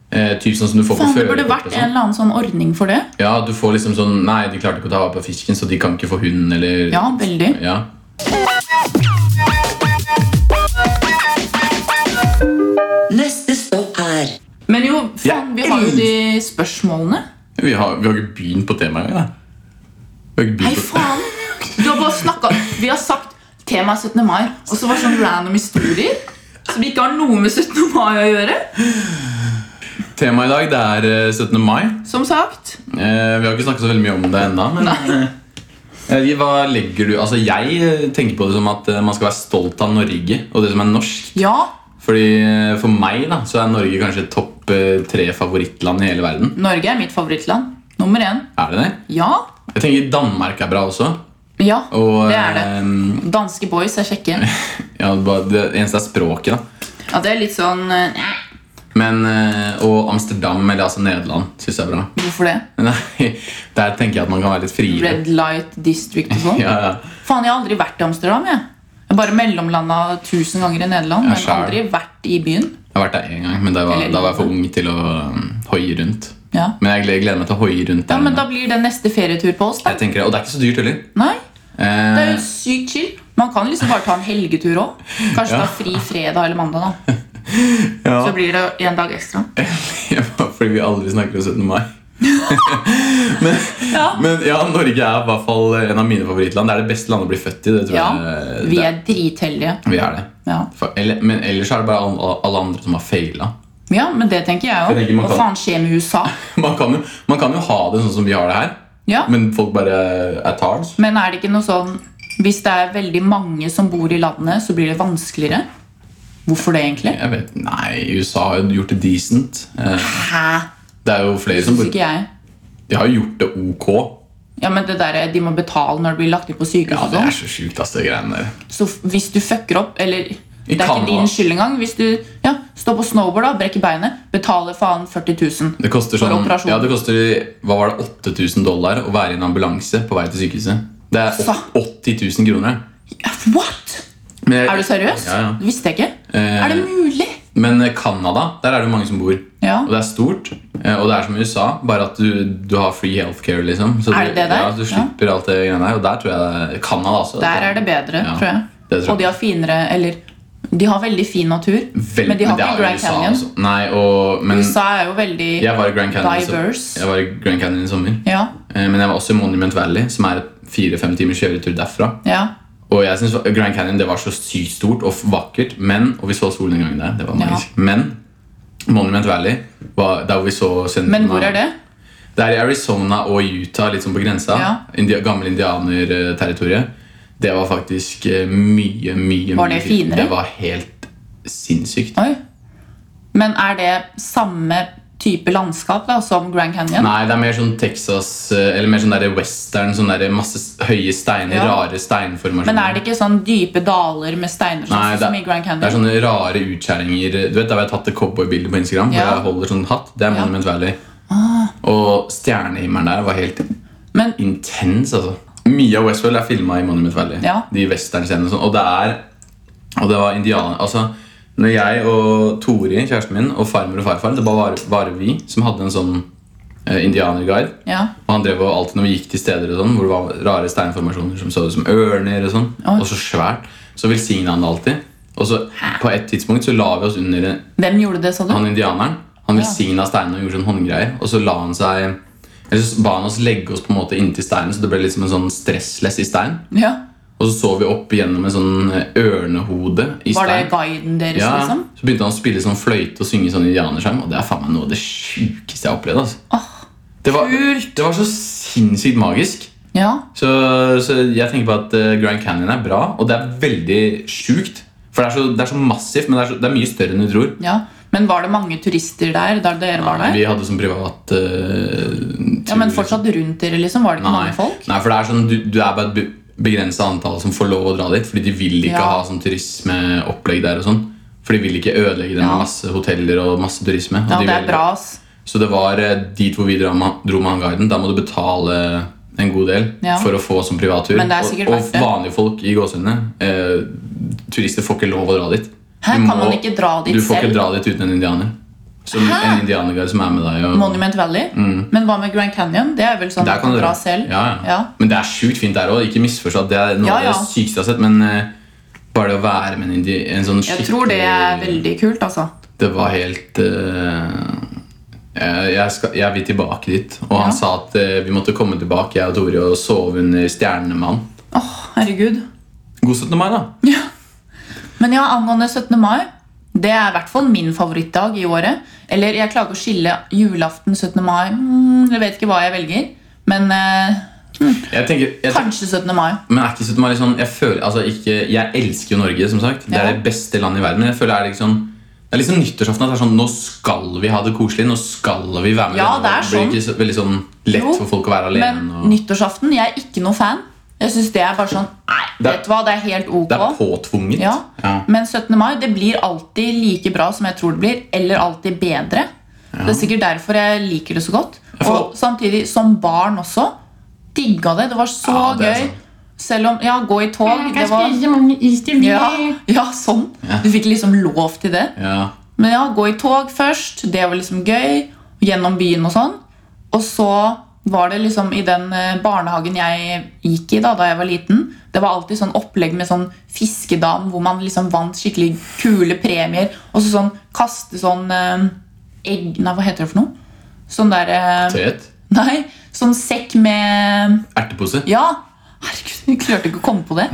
Speaker 1: Eh, typ sånn som du får
Speaker 3: Faen,
Speaker 1: på
Speaker 3: det burde
Speaker 1: førerkort
Speaker 3: vært
Speaker 1: og
Speaker 3: en
Speaker 1: sånn.
Speaker 3: eller annen sånn ordning for det.
Speaker 1: Ja, du får liksom sånn Nei, de klarte ikke å ta vare på fisken, så de kan ikke få hund, eller
Speaker 3: Ja, veldig.
Speaker 1: ja.
Speaker 2: Neste stopp er
Speaker 3: Men jo, faen, vi har jo de spørsmålene.
Speaker 1: Vi har, vi har ikke begynt på temaet engang. da. Vi har ikke
Speaker 3: Nei,
Speaker 1: begynt på-
Speaker 3: faen! Du har bare snakket Vi har sagt tema er 17. mai, og så var det sånn random historier som ikke har noe med 17. mai å gjøre.
Speaker 1: Temaet i dag det er eh, 17. mai.
Speaker 3: Som sagt.
Speaker 1: Eh, Vi har ikke snakket så veldig mye om det ennå. Men eh, hva legger du Altså, Jeg eh, tenker på det som at eh, man skal være stolt av Norge og det som er norsk.
Speaker 3: Ja,
Speaker 1: Fordi eh, For meg da, så er Norge kanskje topp eh, tre favorittland i hele verden.
Speaker 3: Norge er mitt favorittland. Nummer én.
Speaker 1: Er det det?
Speaker 3: Ja.
Speaker 1: Jeg tenker Danmark er bra også.
Speaker 3: Ja,
Speaker 1: Og,
Speaker 3: det er det.
Speaker 1: eh,
Speaker 3: Danske boys er kjekke.
Speaker 1: Ja, bare det eneste er språket, da.
Speaker 3: Ja, det er litt sånn eh,
Speaker 1: Men, eh, og Amsterdam, eller altså Nederland, syns jeg er bra.
Speaker 3: Hvorfor det?
Speaker 1: Nei, Der tenker jeg at man kan være litt friere.
Speaker 3: Red Light District og sånn.
Speaker 1: Ja, ja.
Speaker 3: Faen, jeg har aldri vært i Amsterdam. jeg. Jeg har bare mellomlanda tusen ganger i Nederland.
Speaker 1: Ja,
Speaker 3: Men
Speaker 1: skjær.
Speaker 3: aldri vært i byen.
Speaker 1: Jeg har vært der én gang, men da var,
Speaker 3: Eller-
Speaker 1: da var jeg for ung til å um, hoie rundt.
Speaker 3: Ja.
Speaker 1: Men jeg gleder, jeg gleder meg til å hoie rundt.
Speaker 3: ja,
Speaker 1: der
Speaker 3: Men
Speaker 1: nede.
Speaker 3: da blir det neste ferietur på oss. da.
Speaker 1: jeg tenker, det, Og det er ikke så dyrt heller.
Speaker 3: Nei, Det er jo
Speaker 1: Eh,
Speaker 3: sykt chill. Man kan liksom bare ta en helgetur òg. Kanskje
Speaker 1: Ja.
Speaker 3: ta fri fredag eller mandag. da.
Speaker 1: Eh, ja. Eh,
Speaker 3: Så blir det en dag ekstra.
Speaker 1: Bare fordi vi aldri snakker om 17. mai. men,
Speaker 3: Ja.
Speaker 1: men ja, Norge er i hvert fall en av mine favorittland. Det er det beste landet å bli født i. det tror
Speaker 3: Ja,
Speaker 1: jeg.
Speaker 3: Vi
Speaker 1: det,
Speaker 3: er dritheldige.
Speaker 1: vi er det.
Speaker 3: Ja.
Speaker 1: For, eller, men ellers er det bare alle, alle andre som har feila.
Speaker 3: ja, men det tenker
Speaker 1: Jeg
Speaker 3: jeg
Speaker 1: tenker
Speaker 3: jo.
Speaker 1: man
Speaker 3: Hva
Speaker 1: kan-
Speaker 3: faen skjer med USA?
Speaker 1: Man, kan jo- man kan jo ha det sånn som vi har det her,
Speaker 3: Ja.
Speaker 1: men folk bare er tards.
Speaker 3: Men er det ikke noe sånn Hvis det er veldig mange som bor i landet, så blir det vanskeligere? Hvorfor det, egentlig?
Speaker 1: Jeg vet, Nei, USA har jo gjort det decent. Eh,
Speaker 3: Hæ?
Speaker 1: Det er jo flere som
Speaker 3: Syns ikke jeg.
Speaker 1: De har jo gjort det ok.
Speaker 3: Ja, men det der, De må betale når det blir lagt inn på sykehus.
Speaker 1: Ja,
Speaker 3: og
Speaker 1: det
Speaker 3: sånn.
Speaker 1: er så sjukt, ass, det greiene der.
Speaker 3: Så f- hvis du fucker opp, eller Det er
Speaker 1: Canada.
Speaker 3: ikke din skyld engang. Hvis du ja, står på snowboard og brekker beinet, betaler faen 40 000.
Speaker 1: Det koster
Speaker 3: For
Speaker 1: sånn,
Speaker 3: operasjon.
Speaker 1: ja, det koster hva var det, 8000 dollar å være i en ambulanse på vei til sykehuset. Det er
Speaker 3: Fa-
Speaker 1: 80 000 kroner.
Speaker 3: Ja, What?!
Speaker 1: Men,
Speaker 3: Er du seriøs?
Speaker 1: Ja, ja.
Speaker 3: Det visste jeg ikke.
Speaker 1: Eh.
Speaker 3: Er det mulig?
Speaker 1: Men eh, Canada, der er det jo mange som bor.
Speaker 3: Ja.
Speaker 1: Og det er stort. eh, Og det er som i USA, bare at du, du har free healthcare, liksom. Så
Speaker 3: Er
Speaker 1: du-
Speaker 3: det det der?
Speaker 1: Ja, du slipper alt det greiene der. Og der tror jeg det- Canada også.
Speaker 3: Der er det bedre,
Speaker 1: Ja,
Speaker 3: tror jeg.
Speaker 1: det tror jeg.
Speaker 3: Og de har finere Eller de har veldig fin natur,
Speaker 1: Vel-
Speaker 3: men de har
Speaker 1: det
Speaker 3: ikke
Speaker 1: er jo
Speaker 3: Grand
Speaker 1: USA
Speaker 3: Canyon.
Speaker 1: også. Nei, og, men,
Speaker 3: USA er jo veldig
Speaker 1: Jeg var i Grand Canyon, i som-
Speaker 3: Diverse.
Speaker 1: jeg var i Grand Canyon i sommer.
Speaker 3: Ja,
Speaker 1: Eh, Men jeg var også i Monument Valley, som er fire-fem timers kjøretur derfra.
Speaker 3: ja.
Speaker 1: Og jeg synes Grand Canyon det var så sykt stort og vakkert, men, og vi så solen en gang der. det var magisk. Men Monument Valley var der hvor vi så senden
Speaker 3: Men hvor er det?
Speaker 1: Det er i Arizona og Utah, litt sånn på grensa.
Speaker 3: Ja.
Speaker 1: Indi gamle indianerterritoriet. Det var faktisk eh, mye, mye
Speaker 3: Var
Speaker 1: mye
Speaker 3: det
Speaker 1: fint.
Speaker 3: finere?
Speaker 1: Det var helt sinnssykt.
Speaker 3: Oi. Men er det samme type landskap da, som Grand Canyon?
Speaker 1: Nei, det er mer sånn Texas eh, Eller mer sånn der western. Sånn der masse s- høye steiner,
Speaker 3: Ja.
Speaker 1: rare steinformasjoner.
Speaker 3: Men er det ikke sånn dype daler med steiner sånn,
Speaker 1: Nei, det,
Speaker 3: som i Grand Canyon?
Speaker 1: det er sånne rare utskjæringer. Du vet, Der hvor jeg har tatt det cowboybildet på Instagram.
Speaker 3: Ja.
Speaker 1: Hvor jeg holder sånn hatt Det er
Speaker 3: Ja. Ah.
Speaker 1: Monument Valley. Og stjernehimmelen der var helt
Speaker 3: Men
Speaker 1: intens, altså. Mye av Westworld er filma i Monument Valley.
Speaker 3: Ja.
Speaker 1: De westernscenene og sånn. Og det er Og det var indianer Altså, når jeg og Tori, kjæresten min, og farmor og farfar Det var bare, bare vi som hadde en sånn eh, indianerguide.
Speaker 3: ja.
Speaker 1: Og han drev og alltid når vi gikk til steder og sånn, hvor det var rare steinformasjoner som så ut som ørner og sånn,
Speaker 3: Oi.
Speaker 1: og så svært, så velsigna han det alltid. Og så på et tidspunkt så la vi oss under en-
Speaker 3: Hvem gjorde det, sa du?
Speaker 1: han indianeren. Han velsigna steinene og gjorde sånn håndgreier, og så la han seg eller så ba han oss legge oss på en måte inntil steinen, så det ble liksom en sånn stressless i stein.
Speaker 3: Ja.
Speaker 1: Og så så vi opp gjennom en sånn eh, ørnehode i
Speaker 3: Var
Speaker 1: stein.
Speaker 3: det guiden deres,
Speaker 1: ja,
Speaker 3: liksom?
Speaker 1: Så begynte han å spille sånn fløyte og synge sånn indianersang, og det er faen meg noe av det sjukeste jeg har opplevd. altså. det, var,
Speaker 3: kult!
Speaker 1: det var så sinnssykt magisk.
Speaker 3: Ja.
Speaker 1: Så, så jeg tenker på at eh, Grand Canyon er bra, og det er veldig sjukt. For det er så, det er så massivt, men det er, så, det er mye større enn du tror.
Speaker 3: ja. Men var det mange turister der da dere var der?
Speaker 1: Vi hadde sånn privat eh,
Speaker 3: Ja, Men
Speaker 1: tur.
Speaker 3: fortsatt rundt dere, liksom? Var det ikke
Speaker 1: Nei.
Speaker 3: mange folk?
Speaker 1: Nei, for det er sånn, du, du er bare et be- begrenset antall som får lov å dra dit, fordi de vil ikke
Speaker 3: Ja.
Speaker 1: ha sånn turismeopplegg der og sånn. For de vil ikke ødelegge det med
Speaker 3: Ja.
Speaker 1: masse hoteller og masse turisme. og
Speaker 3: Ja,
Speaker 1: de
Speaker 3: det er
Speaker 1: vil-
Speaker 3: bra, ass.
Speaker 1: Så det var eh, dit hvor vi dra- dro med han guiden. Da må du betale en god del
Speaker 3: Ja.
Speaker 1: for å få som privattur.
Speaker 3: Men det er sikkert
Speaker 1: og, og
Speaker 3: verdt det.
Speaker 1: vanlige folk i gåsehudene. Eh, turister får ikke lov å dra dit.
Speaker 3: Hæ,
Speaker 1: Du
Speaker 3: kan man ikke dra dit
Speaker 1: Du får
Speaker 3: selv?
Speaker 1: ikke dra dit uten en indianer. Som
Speaker 3: Hæ?
Speaker 1: en indianerguide som er med deg. Og,
Speaker 3: Monument Valley. Men hva med Grand Canyon? Det er vel sånn
Speaker 1: Mm. der
Speaker 3: at
Speaker 1: kan
Speaker 3: man
Speaker 1: du dra.
Speaker 3: drar selv?
Speaker 1: Ja, ja.
Speaker 3: Ja.
Speaker 1: Men det er sjukt fint der òg. Ikke misforstå at det er noe
Speaker 3: Ja, ja.
Speaker 1: av det sykeste jeg har sett. Men eh, bare det å være med en, indi en sånn
Speaker 3: Jeg tror det er veldig kult, altså.
Speaker 1: Det var helt eh, jeg, jeg, skal, jeg vil tilbake dit. Og han
Speaker 3: Ja.
Speaker 1: sa at eh, vi måtte komme tilbake, jeg og Tore, og sove under stjernene med han.
Speaker 3: Åh, herregud.
Speaker 1: God 17. mai, da.
Speaker 3: Ja. Men ja, angående 17. mai Det er i hvert fall min favorittdag i året. Eller jeg klarer ikke å skille julaften, 17. mai mm, Jeg vet ikke hva jeg velger. Men eh,
Speaker 1: Jeg tenker, jeg, tenker-
Speaker 3: kanskje 17. mai.
Speaker 1: men er ikke 17. mai litt sånn Jeg føler, altså ikke, jeg elsker jo Norge, som sagt. Det
Speaker 3: Ja.
Speaker 1: er det beste landet i verden. Men jeg føler det er liksom det er liksom nyttårsaften. at det er sånn, Nå skal vi ha det koselig. Nå skal vi være med.
Speaker 3: Ja,
Speaker 1: vennene
Speaker 3: det er
Speaker 1: våre. blir ikke så, veldig sånn lett
Speaker 3: Jo,
Speaker 1: for folk å være alene.
Speaker 3: Men
Speaker 1: og,
Speaker 3: nyttårsaften, jeg er ikke noe fan. Jeg synes det er bare sånn Nei,
Speaker 1: Det er-
Speaker 3: vet du hva, det er helt ok.
Speaker 1: det er påtvunget.
Speaker 3: Ja. Men 17. mai det blir alltid like bra som jeg tror det blir, eller alltid bedre. Det er sikkert derfor jeg liker det så godt.
Speaker 1: får-
Speaker 3: Og samtidig, som barn også, digga det. Det var så
Speaker 1: Ja, det er
Speaker 3: gøy.
Speaker 1: sant.
Speaker 3: Selv om Ja, gå i tog. Det
Speaker 4: Jeg kan
Speaker 3: var
Speaker 4: spise mange is til det.
Speaker 3: ja, ja, sånn.
Speaker 1: Ja.
Speaker 3: Du fikk liksom lov til det.
Speaker 1: Ja.
Speaker 3: Men ja, gå i tog først. Det var liksom gøy. Gjennom byen og sånn. Og så var det liksom i den eh, barnehagen jeg gikk i da, da jeg var liten, det var alltid sånn opplegg med sånn fiskedam hvor man liksom vant skikkelig kule premier. Og så sånn kaste sånn eh, egg Nei, hva heter det for noe? Sånn der eh,
Speaker 1: Tøyet.
Speaker 3: Nei, sånn sekk med
Speaker 1: Ertepose.
Speaker 3: ja! Herregud, vi klarte ikke å komme på det.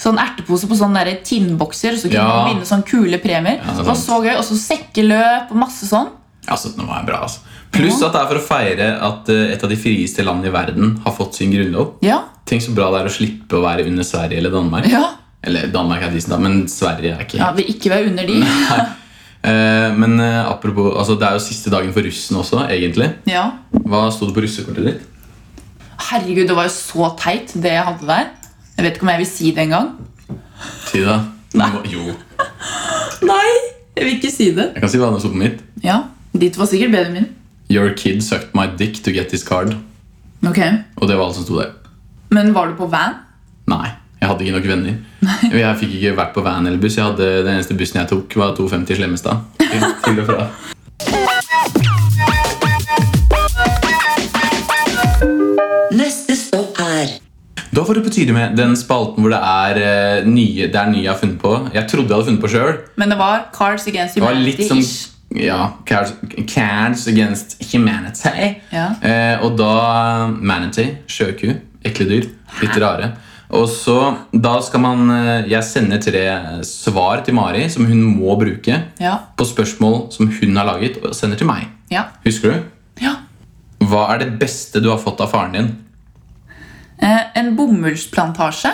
Speaker 3: Sånn ertepose på sånne der tinnbokser, så kunne
Speaker 1: Ja.
Speaker 3: man vinne sånne kule premier.
Speaker 1: Ja, det er
Speaker 3: det var så
Speaker 1: sant.
Speaker 3: gøy, Og så sekkeløp og masse sånn.
Speaker 1: Ja, 17. mai er bra, altså. Pluss at det er for å feire at eh, et av de frieste landene i verden har fått sin grunnlov.
Speaker 3: Ja,
Speaker 1: Tenk så bra det er å slippe å være under Sverige eller Danmark.
Speaker 3: ja.
Speaker 1: Eller Danmark er decent, da, men Sverige er ikke
Speaker 3: ja Vil ikke være under de.
Speaker 1: Eh, Men eh, apropos, altså, det er jo siste dagen for russen også, egentlig.
Speaker 3: Ja.
Speaker 1: Hva sto det på russekortet ditt?
Speaker 3: Herregud, det var jo så teit, det jeg hadde der. Jeg vet ikke om jeg vil si det engang.
Speaker 1: Si det. da. Nå- Jo,
Speaker 3: Nei, jeg vil ikke si det.
Speaker 1: jeg kan si hva det sto på mitt.
Speaker 3: Ja, Ditt var sikkert bedre enn min.
Speaker 1: Your kid sucked my dick to get his card.
Speaker 3: Ok,
Speaker 1: Og det var alt som sto der.
Speaker 3: Men var du på van?
Speaker 1: Nei, jeg hadde ikke nok venner. Jeg fikk ikke vært på van eller buss. Jeg hadde, den eneste bussen jeg tok, var 250 Slemmestad. Til, til og fra.
Speaker 2: Neste stopp er
Speaker 1: Da får det på tide med den spalten hvor det er eh, nye det er nye jeg har funnet på. Jeg trodde jeg hadde funnet på sjøl.
Speaker 3: Men det var Cars Against
Speaker 1: Det var litt som
Speaker 3: Humanity-ish.
Speaker 1: ja, Cards Cards Against Humanity.
Speaker 3: Ja.
Speaker 1: Eh, og da Manatee. Sjøku. Ekle dyr. Litt rare. Og så, da skal man eh, Jeg sender tre svar til Mari som hun må bruke
Speaker 3: Ja.
Speaker 1: på spørsmål som hun har laget, og sender til meg.
Speaker 3: Ja.
Speaker 1: Husker du?
Speaker 3: ja.
Speaker 1: Hva er det beste du har fått av faren din?
Speaker 3: Eh, en bomullsplantasje.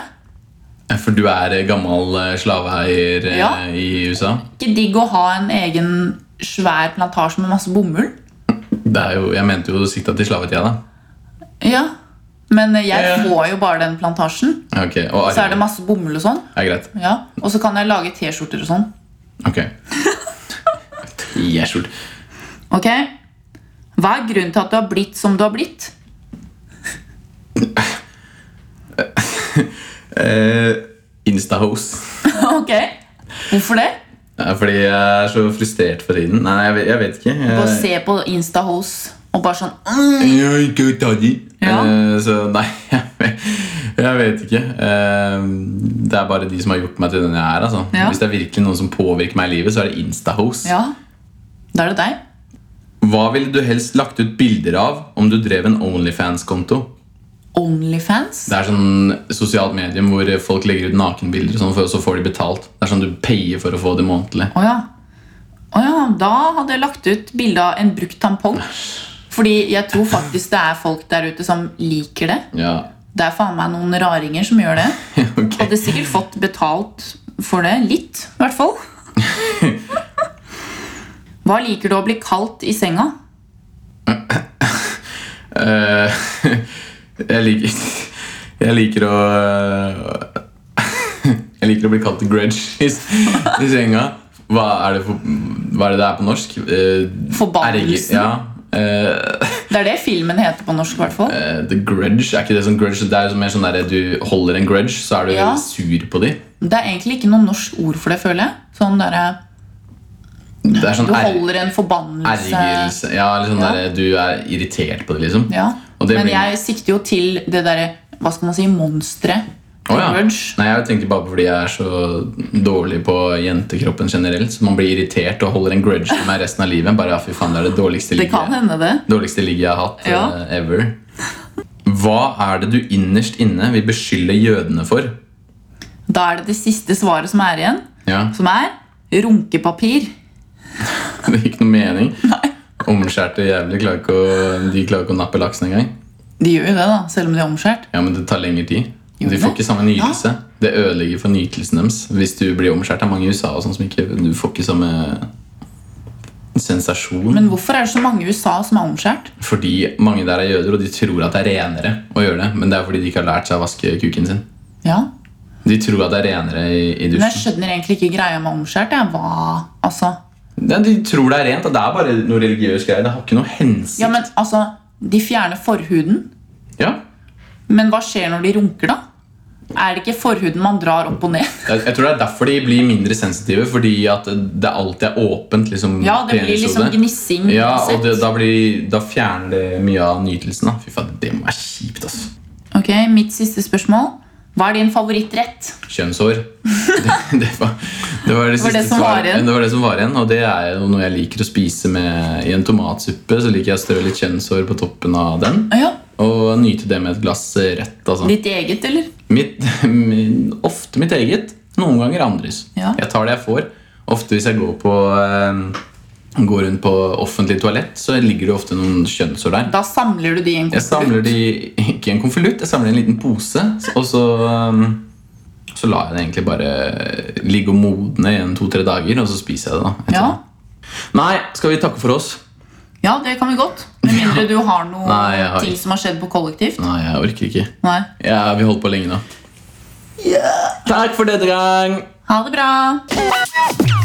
Speaker 1: For du er eh, gammel eh, slaveeier eh,
Speaker 3: Ja.
Speaker 1: i USA.
Speaker 3: ikke digg å ha en egen svær plantasje med masse bomull?
Speaker 1: Det er jo, jeg mente jo sikta til slavetida, da.
Speaker 3: Ja. Men eh, jeg
Speaker 1: Ja, ja.
Speaker 3: får jo bare den plantasjen.
Speaker 1: Ok, og
Speaker 3: Så er det masse bomull og sånn.
Speaker 1: er greit.
Speaker 3: Ja. Og så kan jeg lage T-skjorter og sånn.
Speaker 1: Ok. T-skjorte.
Speaker 3: Ok? Hva er grunnen til at du har blitt som du har blitt?
Speaker 1: Eh, Instahose.
Speaker 3: ok? Hvorfor det?
Speaker 1: Ja, fordi jeg er så frustrert for tiden. Nei, jeg, vet- jeg vet ikke. Jeg,
Speaker 3: Bare se på Insta-hose og bare sånn mm.
Speaker 1: Jeg har ikke tatt i.
Speaker 3: Ja.
Speaker 1: Eh, Så nei, jeg vet, jeg vet ikke. Eh, Det er bare de som har gjort meg til den jeg er. Altså.
Speaker 3: Ja.
Speaker 1: Hvis det er virkelig noen som påvirker meg i livet, så er det Instahose.
Speaker 3: Ja, da er det deg.
Speaker 1: Hva ville du helst lagt ut bilder av om du drev en Onlyfans-konto?
Speaker 3: Onlyfans?
Speaker 1: Det er sånn sosialt medium hvor folk legger ut nakenbilder, og sånn, for- så får de betalt. Det er sånn du payer for å få det månedlig.
Speaker 3: Å ja. Å ja. Da hadde jeg lagt ut bilde av en brukt tampong. Fordi jeg tror faktisk det er folk der ute som liker det.
Speaker 1: Ja,
Speaker 3: Det er faen meg noen raringer som gjør det.
Speaker 1: ok.
Speaker 3: Hadde sikkert fått betalt for det. Litt, i hvert fall. Hva liker du å bli kalt i senga?
Speaker 1: Eh, jeg liker Jeg liker å Jeg liker å bli kalt grudge i, s- i senga. Hva er det for, Hva er det det er på norsk? Eh, erger-
Speaker 3: Forbannelsen.
Speaker 1: Ja. Eh,
Speaker 3: Det er det filmen heter på norsk, i hvert fall.
Speaker 1: eh, the grudge, er ikke det sånn grudge? Det er jo mer sånn der, Du holder en grudge, så er du
Speaker 3: Ja.
Speaker 1: sur på dem.
Speaker 3: Det er egentlig ikke noe norsk ord for det, føler jeg. Sånn der,
Speaker 1: Det er sånn
Speaker 3: Du
Speaker 1: er,
Speaker 3: holder en forbannelse
Speaker 1: ergelse Ja, eller sånn
Speaker 3: Ja.
Speaker 1: der, du er irritert på det, liksom.
Speaker 3: ja.
Speaker 1: Og det
Speaker 3: Men
Speaker 1: blir-
Speaker 3: jeg sikter jo til det derre Hva skal man si? Monsteret.
Speaker 1: Å ja.
Speaker 3: Grudge.
Speaker 1: Nei, jeg tenkte bare på fordi jeg er så dårlig på jentekroppen generelt. Så man blir irritert og holder en grudge til meg resten av livet. Bare, ja, fy faen, Det er det dårligste
Speaker 3: Det
Speaker 1: ligget
Speaker 3: kan hende, det.
Speaker 1: dårligste ligget jeg har hatt eh,
Speaker 3: Ja.
Speaker 1: ever. Hva er det du innerst inne vil beskylde jødene for?
Speaker 3: Da er det det siste svaret som er igjen,
Speaker 1: Ja,
Speaker 3: som er runkepapir.
Speaker 1: Det gir ikke noe mening. Omskjærte jævler klarer ikke å, de klarer ikke å nappe laksen engang.
Speaker 3: De gjør jo det, da, selv om de er omskjært.
Speaker 1: Ja, men det tar lengre tid.
Speaker 3: Gjør
Speaker 1: De
Speaker 3: det?
Speaker 1: får ikke samme nytelse. Det ødelegger for nytelsen deres. Hvis du blir omskjært av mange i USA og sånn som ikke Du får ikke samme sensasjon.
Speaker 3: Men hvorfor er det så mange i USA som er omskjært?
Speaker 1: fordi mange der er jøder, og de tror at det er renere å gjøre det. Men det er fordi de ikke har lært seg å vaske kuken sin.
Speaker 3: Ja.
Speaker 1: De tror at det er renere i, i
Speaker 3: Men jeg
Speaker 1: dusjen.
Speaker 3: skjønner egentlig ikke greia med omskjært. Jeg. Hva? Altså.
Speaker 1: Ja, de tror det er rent, og det er bare noe religiøs greie. Det har ikke noe hensikt.
Speaker 3: Ja, men altså, De fjerner forhuden,
Speaker 1: Ja.
Speaker 3: men hva skjer når de runker, da? Er det ikke forhuden man drar opp og ned?
Speaker 1: Jeg, jeg tror det er derfor de blir mindre sensitive, fordi at det alltid er åpent. liksom
Speaker 3: Ja, det blir liksom
Speaker 1: penishodet.
Speaker 3: gnissing.
Speaker 1: Ja, og det,
Speaker 3: uansett.
Speaker 1: da, blir, da fjerner det mye av nytelsen. Da. Fy faen, Det må være kjipt, ass.
Speaker 3: Ok, Mitt siste spørsmål. Hva er din favorittrett?
Speaker 1: Kjønnshår. Det, det, var, det var det
Speaker 3: var
Speaker 1: siste
Speaker 3: det som var
Speaker 1: svaret.
Speaker 3: igjen.
Speaker 1: Det var det som var igjen. Og det er jo noe jeg liker å spise med i en tomatsuppe. Så liker jeg å strø litt kjønnshår på toppen av den.
Speaker 3: Ah, ja.
Speaker 1: Og nyte det med et glass rødt. Altså.
Speaker 3: Ditt eget, eller?
Speaker 1: Mitt, min, ofte mitt eget, noen ganger andres.
Speaker 3: Ja.
Speaker 1: Jeg tar det jeg får. Ofte hvis jeg går, på, eh, går rundt på offentlig toalett, så ligger det ofte noen kjønnshår der.
Speaker 3: Da samler du de i en
Speaker 1: Jeg samler de ikke i en konvolutt, jeg samler i en liten pose. Og så, um, så lar jeg det egentlig bare ligge og modne i en to-tre dager, og så spiser jeg det. da
Speaker 3: Ja.
Speaker 1: etterpå. Nei, skal vi takke for oss?
Speaker 3: ja, det kan vi godt. Med mindre du har noe
Speaker 1: Nei, jeg har
Speaker 3: ting
Speaker 1: ikke.
Speaker 3: som har skjedd på kollektivt.
Speaker 1: Nei, jeg orker ikke.
Speaker 3: Nei.
Speaker 1: Ja, Vi holdt på lenge nå. Takk for denne gang!
Speaker 3: Ha det bra!